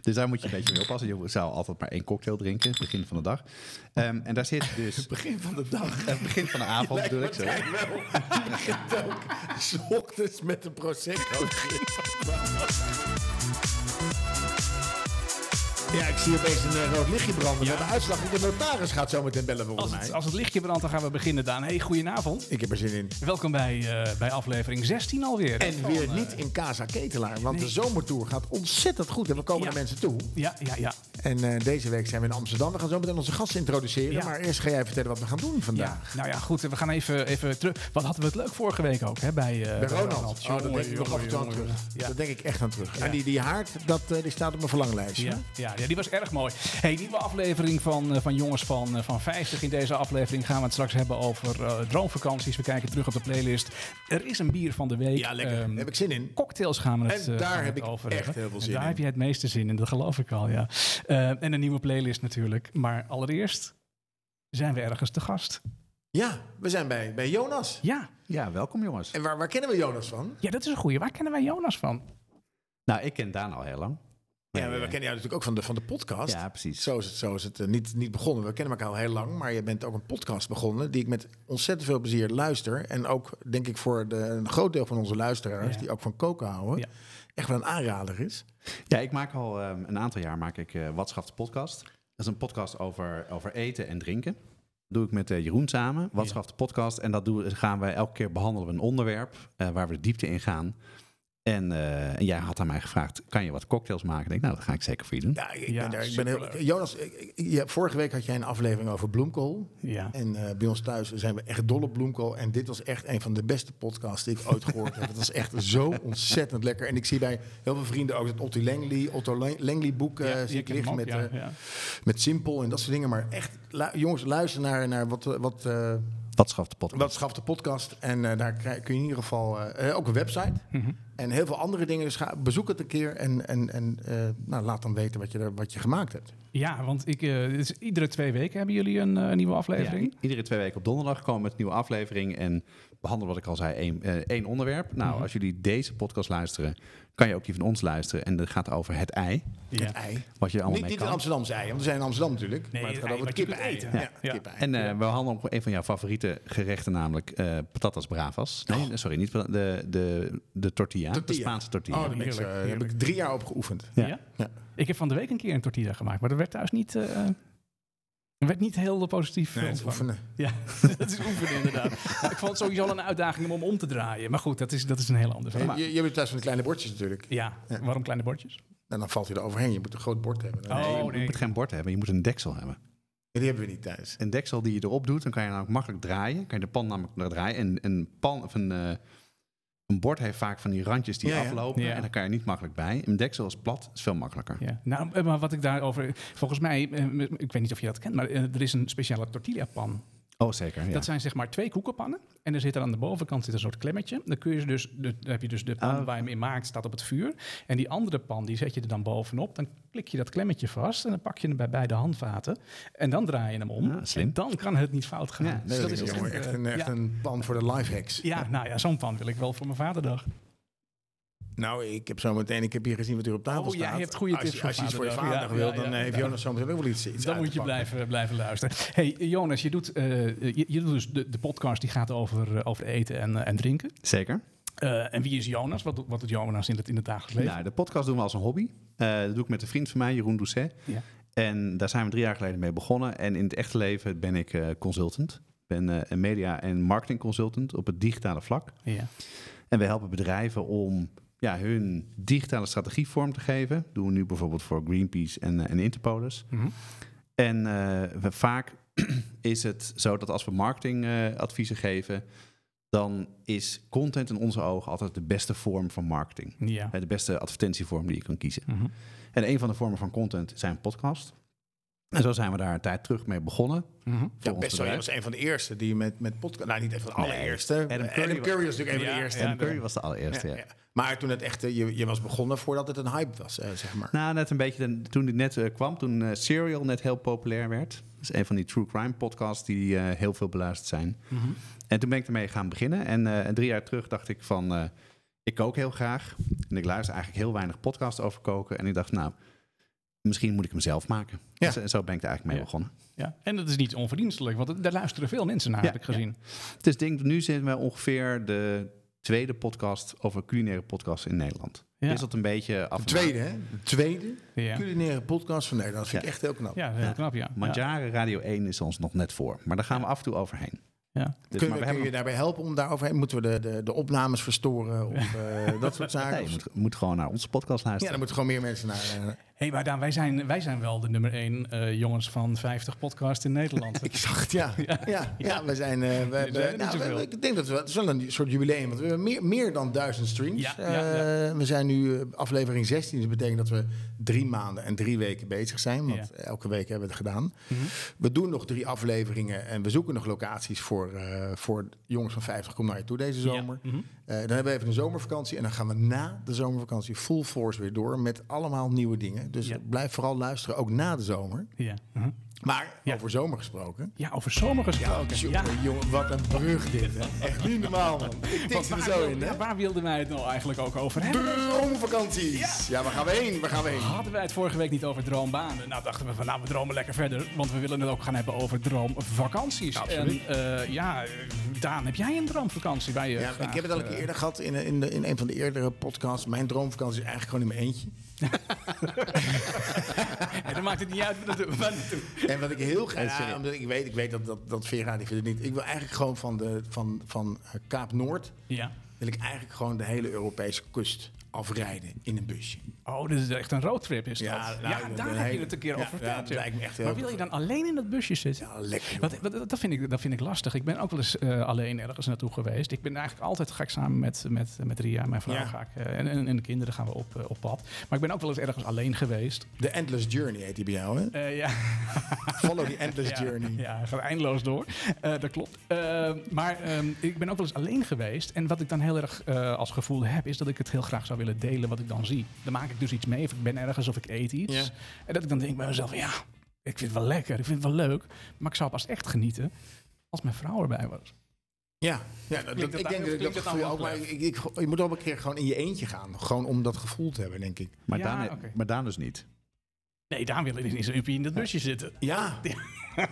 Dus daar moet je een beetje mee oppassen. Je zou altijd maar één cocktail drinken, begin van de dag. Ehm, en daar zit dus... Begin van de dag. eh, begin van de avond bedoel ik zo. Martijn wel. Die begint ook 's ochtends met een prosecco. Ja, ik zie opeens een eh, rood lichtje branden. Ja. Maar de uitslag van de notaris gaat zo meteen bellen volgens Als mij. het, als het lichtje brandt, dan gaan we beginnen, Daan. Hey, goedenavond. Ik heb er zin in. Welkom bij, eh, bij aflevering 16 alweer. En weer niet in Casa Ketelaar, want de zomertour gaat ontzettend goed. En we komen Ja. naar mensen toe. Ja, ja, ja. En eh, deze week zijn we in Amsterdam. We gaan zo meteen onze gasten introduceren. Ja. Maar eerst ga jij vertellen wat we gaan doen ja. vandaag. Nou ja, goed. We gaan even, even terug. Wat hadden we het leuk vorige week ook, hè? Bij, eh, Bij Ronald. Oh, dat Jongen, denk ik nog af en toe aan jongen, terug. jongen. Ja. Dat denk ik echt aan terug. En die, die haard, dat, eh, die staat op mijn verlanglijstje. Ja, ja, ja, die was erg mooi. Hey, nieuwe aflevering van, eh, van Jongens van, eh, van 50. In deze aflevering gaan we het straks hebben over eh, droomvakanties. We kijken terug op de playlist. Er is een bier van de week. Ja, lekker. Ehm, Daar heb ik zin in. Cocktails gaan we het, En eh, daar gaan we heb het ik over echt hebben. heel veel En zin daar in. heb jij het meeste zin in, dat geloof ik al, ja. Eh, en een nieuwe playlist natuurlijk. Maar allereerst zijn we ergens te gast. Ja, we zijn bij, bij Jonas. Ja, Ja, welkom jongens. En waar, waar kennen we Jonas van? ja dat is een goeie. Waar kennen wij Jonas van? Nou, ik ken Daan al heel lang. Ja, Maar, we, we eh, kennen jou natuurlijk ook van de, van de podcast. Ja, precies. Zo is het, zo is het eh, niet, niet begonnen. We kennen elkaar al heel lang, maar je bent ook een podcast begonnen... die ik met ontzettend veel plezier luister. En ook, denk ik, voor de, een groot deel van onze luisteraars... Ja. die ook van koken houden, Ja. echt wel een aanrader is. Ja, ik maak al ehm, een aantal jaar maak ik eh Watschaft Podcast. Dat is een podcast over, over eten en drinken. doe ik met eh, Jeroen samen, Watschaft Podcast. En dat doen, gaan wij elke keer behandelen we een onderwerp eh, waar we de diepte in gaan. En, eh, en jij had aan mij gevraagd, kan je wat cocktails maken? Ik denk, nou, dat ga ik zeker voor je doen. Ja, ik, Ja, ben daar, ik ben heel, superleuk. Jonas, ik- ik- ja, vorige week had jij een aflevering over bloemkool. Ja. En eh, bij ons thuis zijn we echt dol op bloemkool. En dit was echt een van de beste podcasts die ik ooit gehoord heb. Het was echt zo ontzettend lekker. En ik zie bij heel veel vrienden ook dat Otto Langley, Otto Lang- Langley boek eh Ja, zie je ik kent hem liggen ook, met, ja, eh, ja. met Simpel en dat soort dingen. Maar echt, lu- jongens, luister naar, naar wat, eh, wat, eh, Watschaft Podcast. wat schaft de podcast. En eh, daar krijg- kun je in ieder geval eh, eh, ook een website. Mhm. En heel veel andere dingen. Dus ga, bezoek het een keer en, en, en eh, nou, laat dan weten wat je, er, wat je gemaakt hebt. Ja, want ik, eh, het is iedere twee weken hebben jullie een eh, nieuwe Ja, aflevering. i- iedere twee weken op donderdag komen we met een nieuwe aflevering en behandelen wat ik al zei, één, eh, één onderwerp. Nou, Mhm. als jullie deze podcast luisteren, kan je ook die van ons luisteren. En dat gaat over het ei, Ja. Ei. wat je er allemaal Niet, mee niet kan. het Amsterdamse ei, want we zijn in Amsterdam natuurlijk. Nee, maar het het gaat ei over het wat je kippen kunt Ja, eten. Ja. kippenei. En eh, we handelen op een van jouw favoriete gerechten, namelijk eh, patatas bravas. Nee, Oh. sorry, niet pata- de, de, de tortilla, de Tortilla. Spaanse tortilla. Oh, daar ben ik, zo- Heerlijk, daar heb ik heerlijk. drie jaar op geoefend. Ja. Ja. Ik heb van de week een keer een tortilla gemaakt, maar dat werd thuis niet, eh, werd niet heel positief Nee, het ontvangen. oefenen. Ja, dat is oefenen inderdaad. Maar ik vond het sowieso al een uitdaging om hem om te draaien. Maar goed, dat is, dat is een heel ander verhaal. Je, je bent thuis van de kleine bordjes natuurlijk. Ja, waarom kleine bordjes? En dan valt hij er overheen. Je moet een groot bord hebben. Oh, Nee, je nee. moet geen bord hebben, je moet een deksel hebben. Die hebben we niet Dus thuis. Een deksel die je erop doet, dan kan je namelijk makkelijk draaien. Kan je de pan namelijk naar draaien. En een pan of een, eh, een bord heeft vaak van die randjes die Ja, ja. aflopen. Ja. En daar kan je niet makkelijk bij. Een deksel is plat, is veel makkelijker. Ja. Nou, eh, maar wat ik daarover... Volgens mij, eh, ik weet niet of je dat kent, maar eh, er is een speciale tortillapan. Oh, zeker. Ja. Dat zijn zeg maar twee koekenpannen. En er zit er aan de bovenkant zit een soort klemmetje. Dan, kun je ze dus, de, dan heb je dus de pan Ah. waar je hem in maakt, staat op het vuur. En die andere pan, die zet je er dan bovenop. Dan klik je dat klemmetje vast en dan pak je hem bij beide handvaten. En dan draai je hem om. Ah, slim. En dan kan het niet fout gaan. Ja, Dus nee, dat is Jongen, echt, echt eh, een, echt ja. een plan voor de lifehacks. Ja, nou ja, zo'n pan wil ik wel voor mijn vaderdag. Nou, ik heb zo meteen, ik heb hier gezien wat er op tafel Oh, jij staat. hebt goede Als je- tips voor als je iets voor je vaderdag. vader Ja, wil, ja, dan ja, eh, heeft ja. Jonas zo meteen ook wel iets, iets Dan uit moet te je pakken. blijven, eh, blijven luisteren. hey, Jonas, je doet, eh, je, je doet dus de, de podcast die gaat over, eh, over eten en, eh, en drinken. Zeker. Eh, en wie is Jonas? Wat, doet- wat doet Jonas in het, in het dagelijks leven? Nou, de podcast doen we als een hobby. Eh, dat doe ik met een vriend van mij, Jeroen Doucet. Ja. En daar zijn we drie jaar geleden mee begonnen. En in het echte leven ben ik eh, consultant. Ik ben eh, een media- en marketing consultant op het digitale vlak. Ja. En we helpen bedrijven om ja, hun digitale strategie vorm te geven. Dat doen we nu bijvoorbeeld voor Greenpeace en, eh, en Interpolis. Mhm. En eh, we, vaak is het zo dat als we marketingadviezen geven, dan is content in onze ogen altijd de beste vorm van marketing. Ja. Eh, De beste advertentievorm die je kan kiezen. Mhm. En een van de vormen van content zijn podcast. En zo zijn we daar een tijd terug mee begonnen. Mhm. Voor Ja, ons best wel. bedrijf. Jij was een van de eerste die met, met podcast... Nou, niet een van de Nee. allereerste. Eh, Adam Adam Curry Curry, was- was natuurlijk een van Ja, de eerste. ja, Adam Curry was de Ja, allereerste. ja. ja. Maar toen het echt, eh, je, je was begonnen voordat het een hype was, eh, zeg maar. Nou, net een beetje de- toen dit net eh, kwam, toen eh, Serial net heel populair werd. Dat is een van die true crime podcasts die eh, heel veel beluisterd zijn. Mhm. En toen ben ik ermee gaan beginnen. En eh, en drie jaar terug dacht ik van, eh, ik kook heel graag. En ik luister eigenlijk heel weinig podcasts over koken. En ik dacht, nou, misschien moet ik hem zelf maken. Ja. Zo, zo ben ik er eigenlijk mee Ja. begonnen. Ja. En dat is niet onverdienstelijk, want het- daar luisteren veel mensen naar, Ja, heb ik gezien. Dus ik denk, nu zijn we ongeveer de tweede podcast over culinaire podcasts in Nederland. Ja. Is dat een beetje af De en tweede, hè? De tweede Ja, ja. culinaire podcast van Nederland. Dat vind ik echt heel knap. dat is heel knap, ja. ja. Mandjaren Radio 1 is ons nog net voor. Maar daar gaan we af en toe overheen. ja. Dus, maar we Kunnen we, kun hebben je daarbij helpen om daaroverheen? Moeten we de, de, de opnames verstoren of eh, dat soort zaken? Nee, je moet, moet gewoon naar onze podcast Ja, dan luisteren. moeten gewoon meer mensen naar. eh, hey, maar Daan, wij zijn, wij zijn wel de nummer één eh, jongens van 50 podcast in Nederland. ik zag het, ja. Ja, ja, we zijn. eh, we hebben, zijn er niet nou, we- zoveel. ik denk dat we. Het is wel een soort jubileum, want we hebben meer, meer dan duizend streams. Ja, ja, ja. Eh, we zijn nu eh, aflevering 16, dus dat betekent dat we drie maanden en drie weken bezig zijn. Want elke week hebben we het gedaan. Mhm. We doen nog drie afleveringen en we zoeken nog locaties voor, eh, voor jongens van 50. Kom naar je toe deze zomer. Ja. Mhm. Eh, dan hebben we even een zomervakantie en dan gaan we na de zomervakantie full force weer door met allemaal nieuwe dingen. Dus Ja. blijf vooral luisteren, ook na de zomer. ja. Mhm. Maar Ja. over zomer gesproken. ja, over zomer gesproken. Jongen, Ja, jongen, wat een brug dit. Hè. Echt niet normaal, man. Ik Want tikte er waar, zo wilden- in, hè. ja, waar wilden wij het nou eigenlijk ook over hebben? Droomvakanties. Ja. Ja. waar gaan we heen? Waar gaan we heen? Hadden wij het vorige week niet over droombanen? Nou dachten we van nou, we dromen lekker verder. Want we willen het ook gaan hebben over droomvakanties. Absoluut. En eh, ja, eh, Daan, heb jij een droomvakantie bij je? Ja, graag, ik heb het al een eh, keer eerder gehad in, in, de, in een van de eerdere podcasts. Mijn droomvakantie is eigenlijk gewoon in mijn eentje. En dan Eh, maakt het niet uit waar naartoe- waar naartoe. En wat ik heel graag... sorry. Ja, omdat ik weet, ik weet dat, dat, dat Vera die vindt het niet. Ik wil eigenlijk gewoon van, de, van, van eh, Kaap Noord... Ja. wil ik eigenlijk gewoon de hele Europese kust afrijden in een busje. Oh, dit is echt een roadtrip is dat? Ja, Ja, nou, dat- dat daar heb je hele- het een keer ja, over ja, verteld. dat ja. lijkt me echt heel maar wil je dan alleen in dat busje zitten? Ja, lekker. joh. Wat, wat- dat, vind ik, dat vind ik lastig. Ik ben ook wel eens eh, alleen ergens naartoe geweest. Ik ben eigenlijk altijd ga ik samen met, met, met Ria, mijn vrouw, Ja. ga ik, eh, en, en, en de kinderen gaan we op, eh, op pad. Maar ik ben ook wel eens ergens alleen geweest. De Endless Journey heet die bij jou, hè? Eh, ja. Follow the Endless ja, Journey. Ja, gaat eindeloos door. Eh, dat klopt. Eh, maar ehm, ik ben ook wel eens alleen geweest. En wat ik dan heel erg eh, als gevoel heb, is dat ik het heel graag zou willen delen wat ik dan zie. Dan maak ik dus iets mee, of ik ben ergens of ik eet iets. Ja. En dat ik dan denk bij mezelf, ja, ik vind het wel lekker, ik vind het wel leuk. Maar ik zou pas echt genieten als mijn vrouw erbij was. Ja, ja dat, Klinkt dat- ik dat- denk dat ik klinkt dat dat gevoel nou ook... Maar wel ik, ik, je moet ook een keer gewoon in je eentje gaan. Gewoon om dat gevoel te hebben, denk ik. Maar, Ja, Daan, oké. maar Daan dus niet. Nee, daar wil ik niet in zo'n uppie in dat busje zitten. Ja,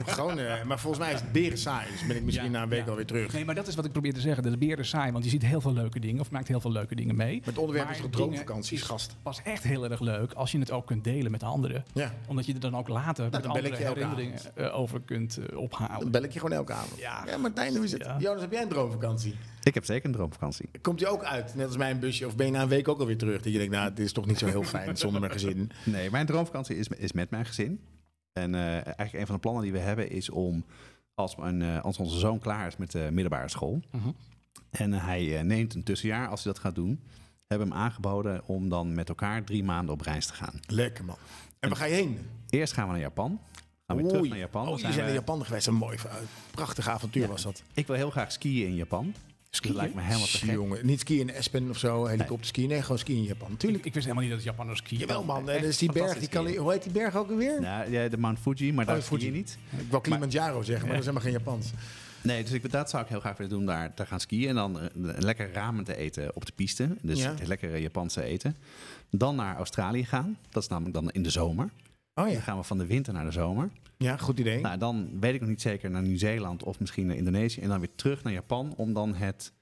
gewoon... eh, maar volgens mij is het beren saai. Dus ben ik misschien Ja, na een week ja. alweer terug. Nee, maar dat is wat ik probeer te zeggen. De beer is saai, want je ziet heel veel leuke dingen of maakt heel veel leuke dingen mee. Het onderwerp is toch Maar dingen droomvakanties, is gast? Pas echt heel erg leuk als je het ook kunt delen met anderen. Ja, Omdat je er dan ook later met Nou, dan bel ik andere je elke herinneringen eh, over kunt eh, dan ophalen. bel ik je gewoon elke avond. Ja. Martijn, hoe is het? Ja. Jonas, heb jij een droomvakantie? Ik heb zeker een droomvakantie. Komt die ook uit, net als mijn busje? Of ben je na een week ook alweer terug? Dat je denkt, nou, dit is toch niet zo heel fijn zonder mijn gezin. Nee, mijn droomvakantie is, is met mijn gezin. En eh, eigenlijk een van de plannen die we hebben is om, als, mijn, eh, als onze zoon klaar is met de middelbare school, Mhm. en hij eh, neemt een tussenjaar als hij dat gaat doen, hebben we hem aangeboden om dan met elkaar drie maanden op reis te gaan. Lekker, man. En waar ga je heen? Eerst gaan we naar Japan. Gaan we weer terug Oei. naar Japan. Dan Oh, zijn jullie zijn we- in Japan geweest. Een mooi, eh, prachtig avontuur was dat. Ik wil heel graag skiën in Japan. Skiën? Dat lijkt me helemaal te gek. Jongen, niet skiën in Espen of zo, helikopterskiën. Nee, gewoon skiën in Japan. Natuurlijk. Ik, ik wist helemaal niet dat Japanners skiën. Jawel man, en echt dat is die berg, die fantastisch Kali- hoe heet die berg ook alweer? Nou, ja, de Mount Fuji, maar daar Oh, ski je Fuji. niet. Ik wou Kilimanjaro zeggen, maar dat is helemaal geen Japans. Nee, dus ik, dat zou ik heel graag willen doen, daar te gaan skiën. En dan eh, lekker ramen te eten op de piste. Dus Ja. het lekkere Japanse eten. Dan naar Australië gaan. Dat is namelijk dan in de zomer. Oh Dan ja, gaan we van de winter naar de zomer. ja goed idee. Nou, dan weet ik nog niet zeker naar Nieuw-Zeeland of misschien naar Indonesië. En dan weer terug naar Japan om dan het,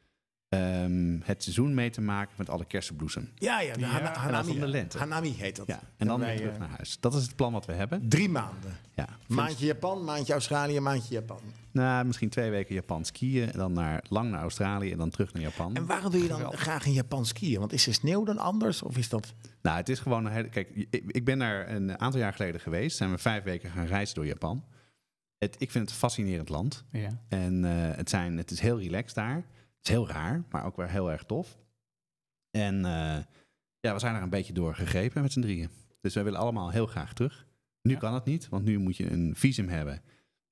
ehm, het seizoen mee te maken met alle kersenbloesem. Ja, ja, de Hana- en dat is om de Hanami, lente. Hanami heet dat. Ja, en dan weer wij, terug eh, naar huis. Dat is het plan wat we hebben. Drie maanden. Ja. Maandje Japan, maandje Australië, maandje Japan. Nou, misschien twee weken Japan skiën. En dan naar, lang naar Australië en dan terug naar Japan. En waarom wil je dan Geweldig. graag in Japan skiën? Want is de sneeuw dan anders of is dat... Nou, het is gewoon een hele... Kijk, ik, ik ben daar een aantal jaar geleden geweest. Zijn we vijf weken gaan reizen door Japan. Het, ik vind het een fascinerend land. Ja. En eh, het, zijn, het is heel relaxed daar. Het is heel raar, maar ook weer heel erg tof. En eh, ja, we zijn er een beetje door gegrepen met z'n drieën. Dus wij willen allemaal heel graag terug. Nu Ja. kan het niet, want nu moet je een visum hebben.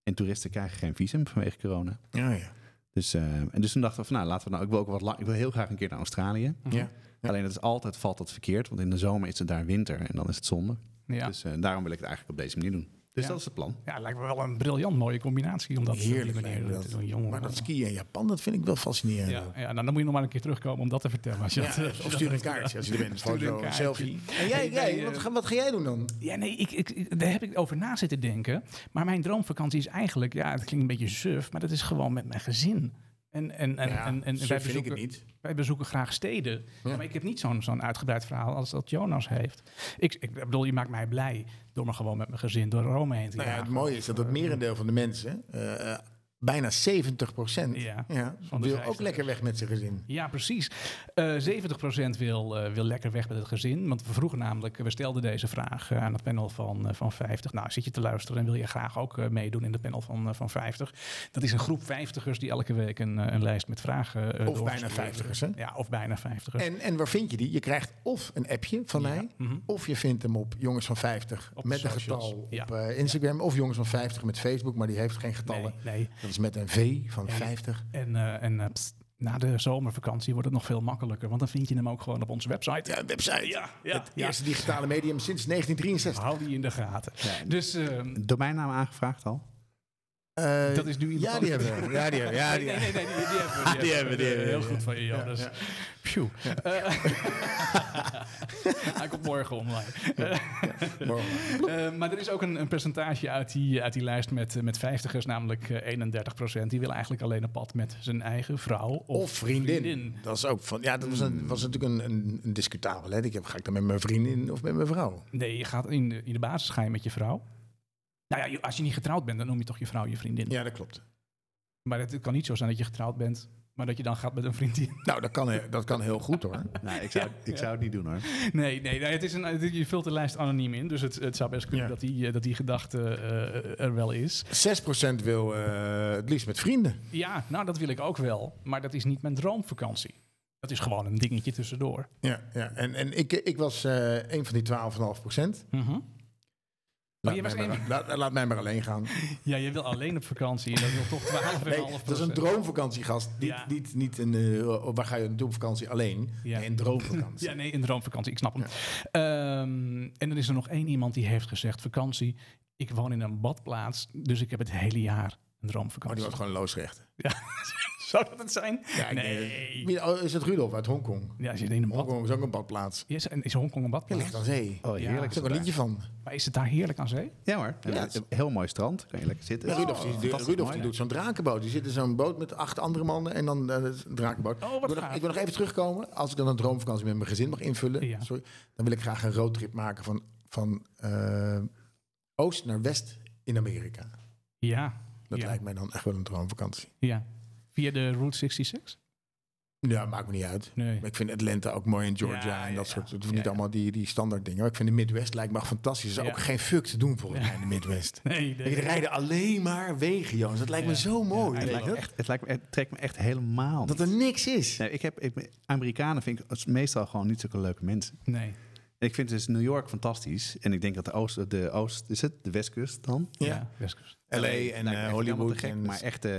En toeristen krijgen geen visum vanwege corona. Ja, ja. Dus, eh, en dus toen dachten we van, nou, laten we nou... Ik wil, ook wat lang, ik wil heel graag een keer naar Australië. ja. Ja. Alleen dat is altijd valt dat verkeerd, want in de zomer is het daar winter en dan is het zonde. Ja. Dus eh, daarom wil ik het eigenlijk op deze manier doen. Dus Ja. dat is het plan. Ja, lijkt me wel een briljant mooie combinatie om dat eh, Heerlijk op die lijkt me manier dat. te doen. Jongen. Maar dat skiën in Japan, dat vind ik wel fascinerend. ja, ja, nou, dan moet je nog maar een keer terugkomen om dat te vertellen. Als je Ja, dat, eh, als of je dat stuur een hebt kaartje als je er bent. Stuur een Foto, een kaartje. selfie. En jij, Hey, jij eh, wat, ga- wat ga jij doen dan? Ja, nee, ik, ik, ik- daar heb ik over na zitten denken. Maar mijn droomvakantie is eigenlijk, ja, het klinkt een beetje suf, maar dat is gewoon met mijn gezin. En, en, en, Ja, en, en zo wij, vind ik het bezoeken, niet. wij bezoeken graag steden. Maar ik heb niet zo'n zo'n uitgebreid verhaal als dat Jonas heeft. Ik, ik bedoel, je maakt mij blij door me gewoon met mijn gezin door Rome heen te Nou ja, het jagen. mooie is dat het merendeel van de mensen, eh, eh, bijna 70 procent, Ja, ja, van de wil ook vijftigers. lekker weg met zijn gezin. Ja, precies. Eh 70% wil, eh, wil lekker weg met het gezin. Want we vroegen namelijk, we stelden deze vraag eh, aan het panel van, eh, van 50. Nou, zit je te luisteren en wil je graag ook eh, meedoen in het panel van, eh, van 50? Dat is een groep 50ers die elke week een, eh, een lijst met vragen. eh, Of bijna doorgestuurd vijftigers, hè? Ja, of bijna 50ers. En, en waar vind je die? Je krijgt of een appje van mij, of je vindt hem op Jongens van 50 mhm. Op de met een socials, getal ja. op eh, Instagram, of Jongens van 50 met Facebook, maar die heeft geen getallen. Nee, nee. Dat is met een V van 50. En, eh, en eh, pst, na de zomervakantie wordt het nog veel makkelijker. Want dan vind je hem ook gewoon op onze website. Ja, website. Ja, ja, het ja. eerste digitale medium sinds 1963. Hou die in de gaten. Dus ehm, Domeinnaam aangevraagd al? Eh, Dat is nu iemand ja, die hebben we. Ja, die hebben we. Ja, die Nee, nee, nee, die, die hebben we. Ah, die hebben we, die hebben we, Heel ja. goed van je, Jonas. Pjoe. Eh, Hij komt morgen online. Eh, Morgen. eh, maar er is ook een, een percentage uit die, uit die lijst met, eh, met 50ers, namelijk eh, 31 Die wil eigenlijk alleen op pad met zijn eigen vrouw of, Of vriendin. Hmm. vriendin. Dat is ook van. Ja, dat was, een, was natuurlijk een, een, een discutabel. Hè? Ik heb, ga ik dan met mijn vriendin of met mijn vrouw? Nee, je gaat in de, in de basis ga je met je vrouw. Nou ja, je- als je niet getrouwd bent, dan noem je toch je vrouw je vriendin. Ja, dat klopt. Maar het kan niet zo zijn dat je getrouwd bent, maar dat je dan gaat met een vriendin. Nou, dat kan, he- dat kan heel goed hoor. Nou, ik zou, ik zou het niet doen hoor. Nee, nee, nee het is een, het- je vult de lijst anoniem in. Dus het, het zou best kunnen Ja. dat, die, eh, dat die gedachte eh, er wel is. 6% wil eh, het liefst met vrienden. Ja, nou dat wil ik ook wel. Maar dat is niet mijn droomvakantie. Dat is gewoon een dingetje tussendoor. Ja, ja. En, en ik, ik was eh een van die 12,5%. Laat, je was mij één- maar- laat, laat mij maar alleen gaan. Ja, je wil alleen op vakantie en dat wil toch 12,5 Nee, dat is een droomvakantiegast. Niet, Ja. niet, niet een, eh, waar ga je naartoe op vakantie alleen? Ja. Nee, een droomvakantie. Ja, nee, een droomvakantie. Ik snap hem. Ehm, en dan is er nog één iemand die heeft gezegd... vakantie, ik woon in een badplaats... dus ik heb het hele Maar jaar een Oh, die droomvakantie. was gewoon loosrecht. ja. Zou dat het zijn? Ja, ik nee. denk- Oh, Is het Rudolf uit Hongkong? Ja, als je in een bad... Hongkong is ook een badplaats. Is, en is Hongkong Je een badplaats? ligt aan zee. Oh, Ja. heerlijk. Er is ook een liedje van. Maar is het daar heerlijk aan zee? Ja hoor. Ja, Een Heel mooi strand. Kan je lekker zitten. Dus Ja, Rudolf, die, de, Fantastisch Rudolf mooi. die doet zo'n drakenboot. Die zit in zo'n boot met acht andere mannen en dan eh, een drakenboot. Oh, wat ik, wil nog, gaaf. ik wil nog even terugkomen. Als ik dan een droomvakantie met mijn gezin mag invullen, Ja. sorry, dan wil ik graag een roadtrip maken van, van eh, oost naar west in Amerika. Ja. Dat ja. lijkt mij dan echt wel een droomvakantie. Ja. Via de Route 66? Ja, maakt me niet uit. Nee. Maar Ik vind Atlanta ook mooi in Georgia Ja, en dat ja, soort. ja. het hoeft Ja, niet ja. allemaal die, die standaard dingen. Maar ik vind de Midwest lijkt me echt fantastisch. Er is Ja. ook geen fuck te doen volgens mij in de Midwest. Nee, Ik rijden alleen maar wegen, Jonas. Dat lijkt me Ja. zo mooi. Het weet lijkt je me dat? echt, het, lijkt me, het trekt me echt helemaal dat niet. er niks is. Nee, ik heb, ik, Amerikanen vind ik als- meestal gewoon niet zulke leuke mensen. Nee. En ik vind dus New York fantastisch. En ik denk dat de oost, de oost is het? De westkust dan? Ja. Westkust. LA Lijkt en me echt eh, helemaal te Hollywood. gek, en maar echt, eh,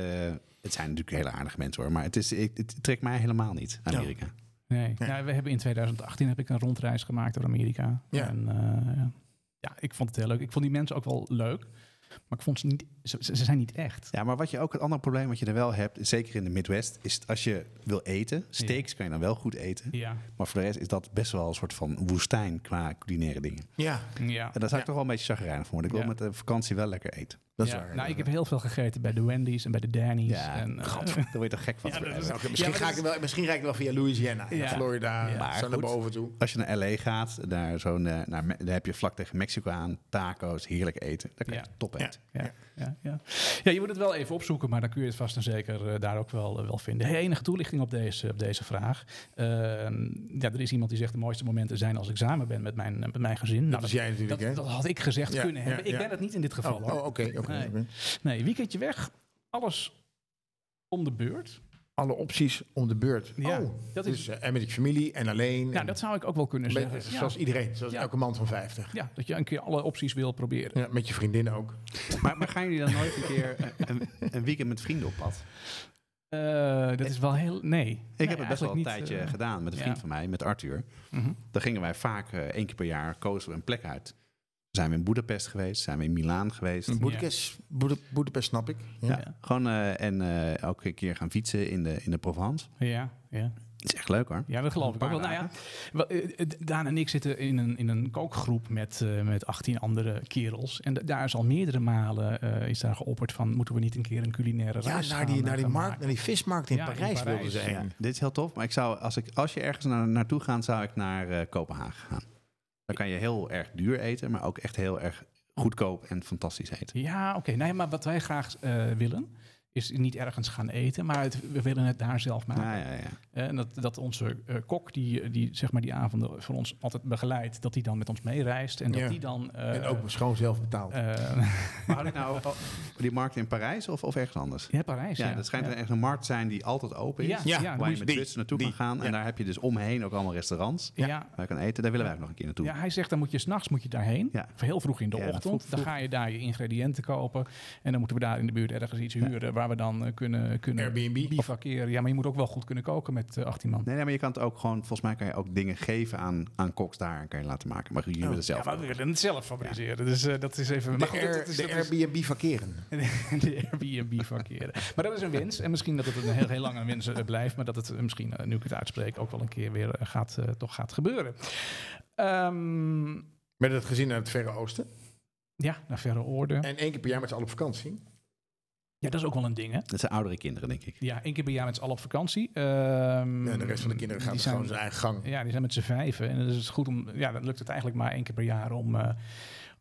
het zijn natuurlijk hele aardige mensen hoor. Maar het, is, ik- het trekt mij helemaal niet, Amerika. Nee. Nou, we hebben in 2018 heb ik een rondreis gemaakt door Amerika. Ja. En, eh, ja. ja, ik vond het heel leuk. Ik vond die mensen ook wel leuk. Maar ik vond ze niet... Ze, ze- ze zijn niet echt. Ja, maar wat je ook het andere probleem wat je er wel hebt, zeker in de Midwest, is het als je wil eten, steaks kan je dan wel goed eten. Ja. Maar voor de rest is dat best wel een soort van woestijn qua culinaire dingen. Ja, Ja. En daar zou ik toch wel een beetje chagrijnig voor worden. Ik wil Ja. met de vakantie wel lekker eten. dat is Ja. waar. Nou, ik heb heel veel gegeten bij de Wendy's en bij de Danny's. Ja, en, eh, Daar word je toch gek van. Ja, te dat is worden. Nou, oké, misschien, Ja, maar ga dat ik wel, misschien rijd ik wel via Louisiana, en Ja. Nou, Florida, Maar zo naar goed. boven toe. Als je naar LA gaat, daar, zo'n, eh, naar, Me- daar heb je vlak tegen Mexico aan, tacos, heerlijk eten. Daar kan je Ja. top eten. ja, ja, ja. ja, je moet het wel even opzoeken, maar dan kun je het vast en zeker eh, daar ook wel, eh, wel vinden. Hey, enige toelichting op deze, op deze vraag. Ehm, ja, er is iemand die zegt de mooiste momenten zijn als ik samen ben met mijn, eh, met mijn gezin. Nou, is jij natuurlijk, dat, hè? dat had ik gezegd Ja, kunnen ja, hebben. Ik ja. ben het niet in dit geval. Oh, hoor. oh, oké. oké, Nee. oké. Nee, weekendje weg, alles om de beurt. Alle opties om de beurt. Ja, oh, dat dat is- is, en met je familie en alleen. Nou, en- dat zou ik ook wel kunnen met- zeggen. Ja, Zoals iedereen, zoals Ja. elke man van 50. ja, dat je een keer alle opties wil proberen. Ja, met je vriendin ook. Maar, maar gaan jullie dan nooit een keer eh, een, een weekend met vrienden op pad? Eh, dat is wel heel... Nee. Ik Ik heb het best wel een tijdje gedaan met een ja. Mhm. eh, vriend van mij, met Arthur. Dan gingen wij vaak eh, één keer per jaar kozen we een plek uit. Zijn we in Boedapest geweest? Zijn we in Milaan geweest? Boedapest, Boeda- Boedapest snap ik. Ja. Ja. Gewoon eh, en eh, elke keer gaan fietsen in de, in de Provence. Ja, ja. Het is echt leuk hoor. Ja, dat geloof Een ik ook wel. paar Nou ja, wel, eh, eh, Daan en ik zitten in een, in een kookgroep met, eh, met 18 andere kerels. En da- daar is al meerdere malen eh, is daar geopperd van... moeten we niet een keer een culinaire Ja, reis naar gaan, die, eh, naar die, gaan markt, maken? naar die vismarkt in Ja, in Parijs, wilden Parijs, ze heen. Ja, dit is heel tof. Maar ik zou, als, ik, als je ergens naar, naartoe gaat, zou ik naar eh, Kopenhagen gaan. Dan kan je heel erg duur eten, maar ook echt heel erg goedkoop en fantastisch eten. Ja, oké. Nee, maar wat wij graag eh, willen is niet ergens gaan eten, maar het- we willen het daar zelf maken. Ja, ja, ja. Eh, En dat, dat onze eh, kok, die, eh, die zeg maar die avonden voor ons altijd begeleidt, dat die dan met ons meereist en dat Ja. die dan. eh, En ook schoon zelf betaald. eh, Maar had ik nou oh, die markt in Parijs of, of ergens anders? ja, Parijs. Ja, Ja, dat schijnt ja. een- echt een markt te zijn die altijd open is. Ja, Ja, ja, dan Waar je moet je- met die, Zwitsers naartoe kan die, gaan. ja. En daar heb je dus omheen ook allemaal restaurants ja, waar je kan eten. Daar willen wij ook nog een keer naartoe. ja, hij zegt dan moet je s'nachts moet je daarheen. Ja. Of Heel vroeg in de Ja, ochtend. vroeg, vroeg. Dan ga je daar je ingrediënten kopen. En dan moeten we daar in de buurt ergens iets huren waar we dan eh, kunnen, kunnen Airbnb. bivakeren. Ja, maar je moet ook wel goed kunnen koken met eh, 18 man. Nee, nee, maar je kan het ook gewoon, volgens mij kan je ook dingen geven aan, aan koks daar en kan je laten maken. Maar jullie willen het zelf. Oh, Ja, maar we willen het zelf fabriceren. Dus eh, dat is even. De, maar goed, dat- dat Air- is- de dat is- Airbnb verkeren. de Airbnb verkeren. Maar dat is een wens. En misschien dat het een heel, heel lange wens eh, blijft. Maar dat het eh, misschien, eh, nu ik het uitspreek, ook wel een keer weer eh, gaat, eh, toch gaat gebeuren. Ehm, Met het gezin naar het Verre Oosten. ja, naar verre orde. En één keer per jaar met z'n allen op vakantie. Ja, dat is ook wel een ding, hè? Dat zijn oudere kinderen, denk ik. Ja, één keer per jaar met z'n allen op vakantie. Ehm, En de rest van de kinderen gaat die dus zijn- gewoon zijn eigen gang. Ja, die zijn met z'n vijven. En dus is het goed om. Ja, dan lukt het eigenlijk maar één keer per jaar om, eh,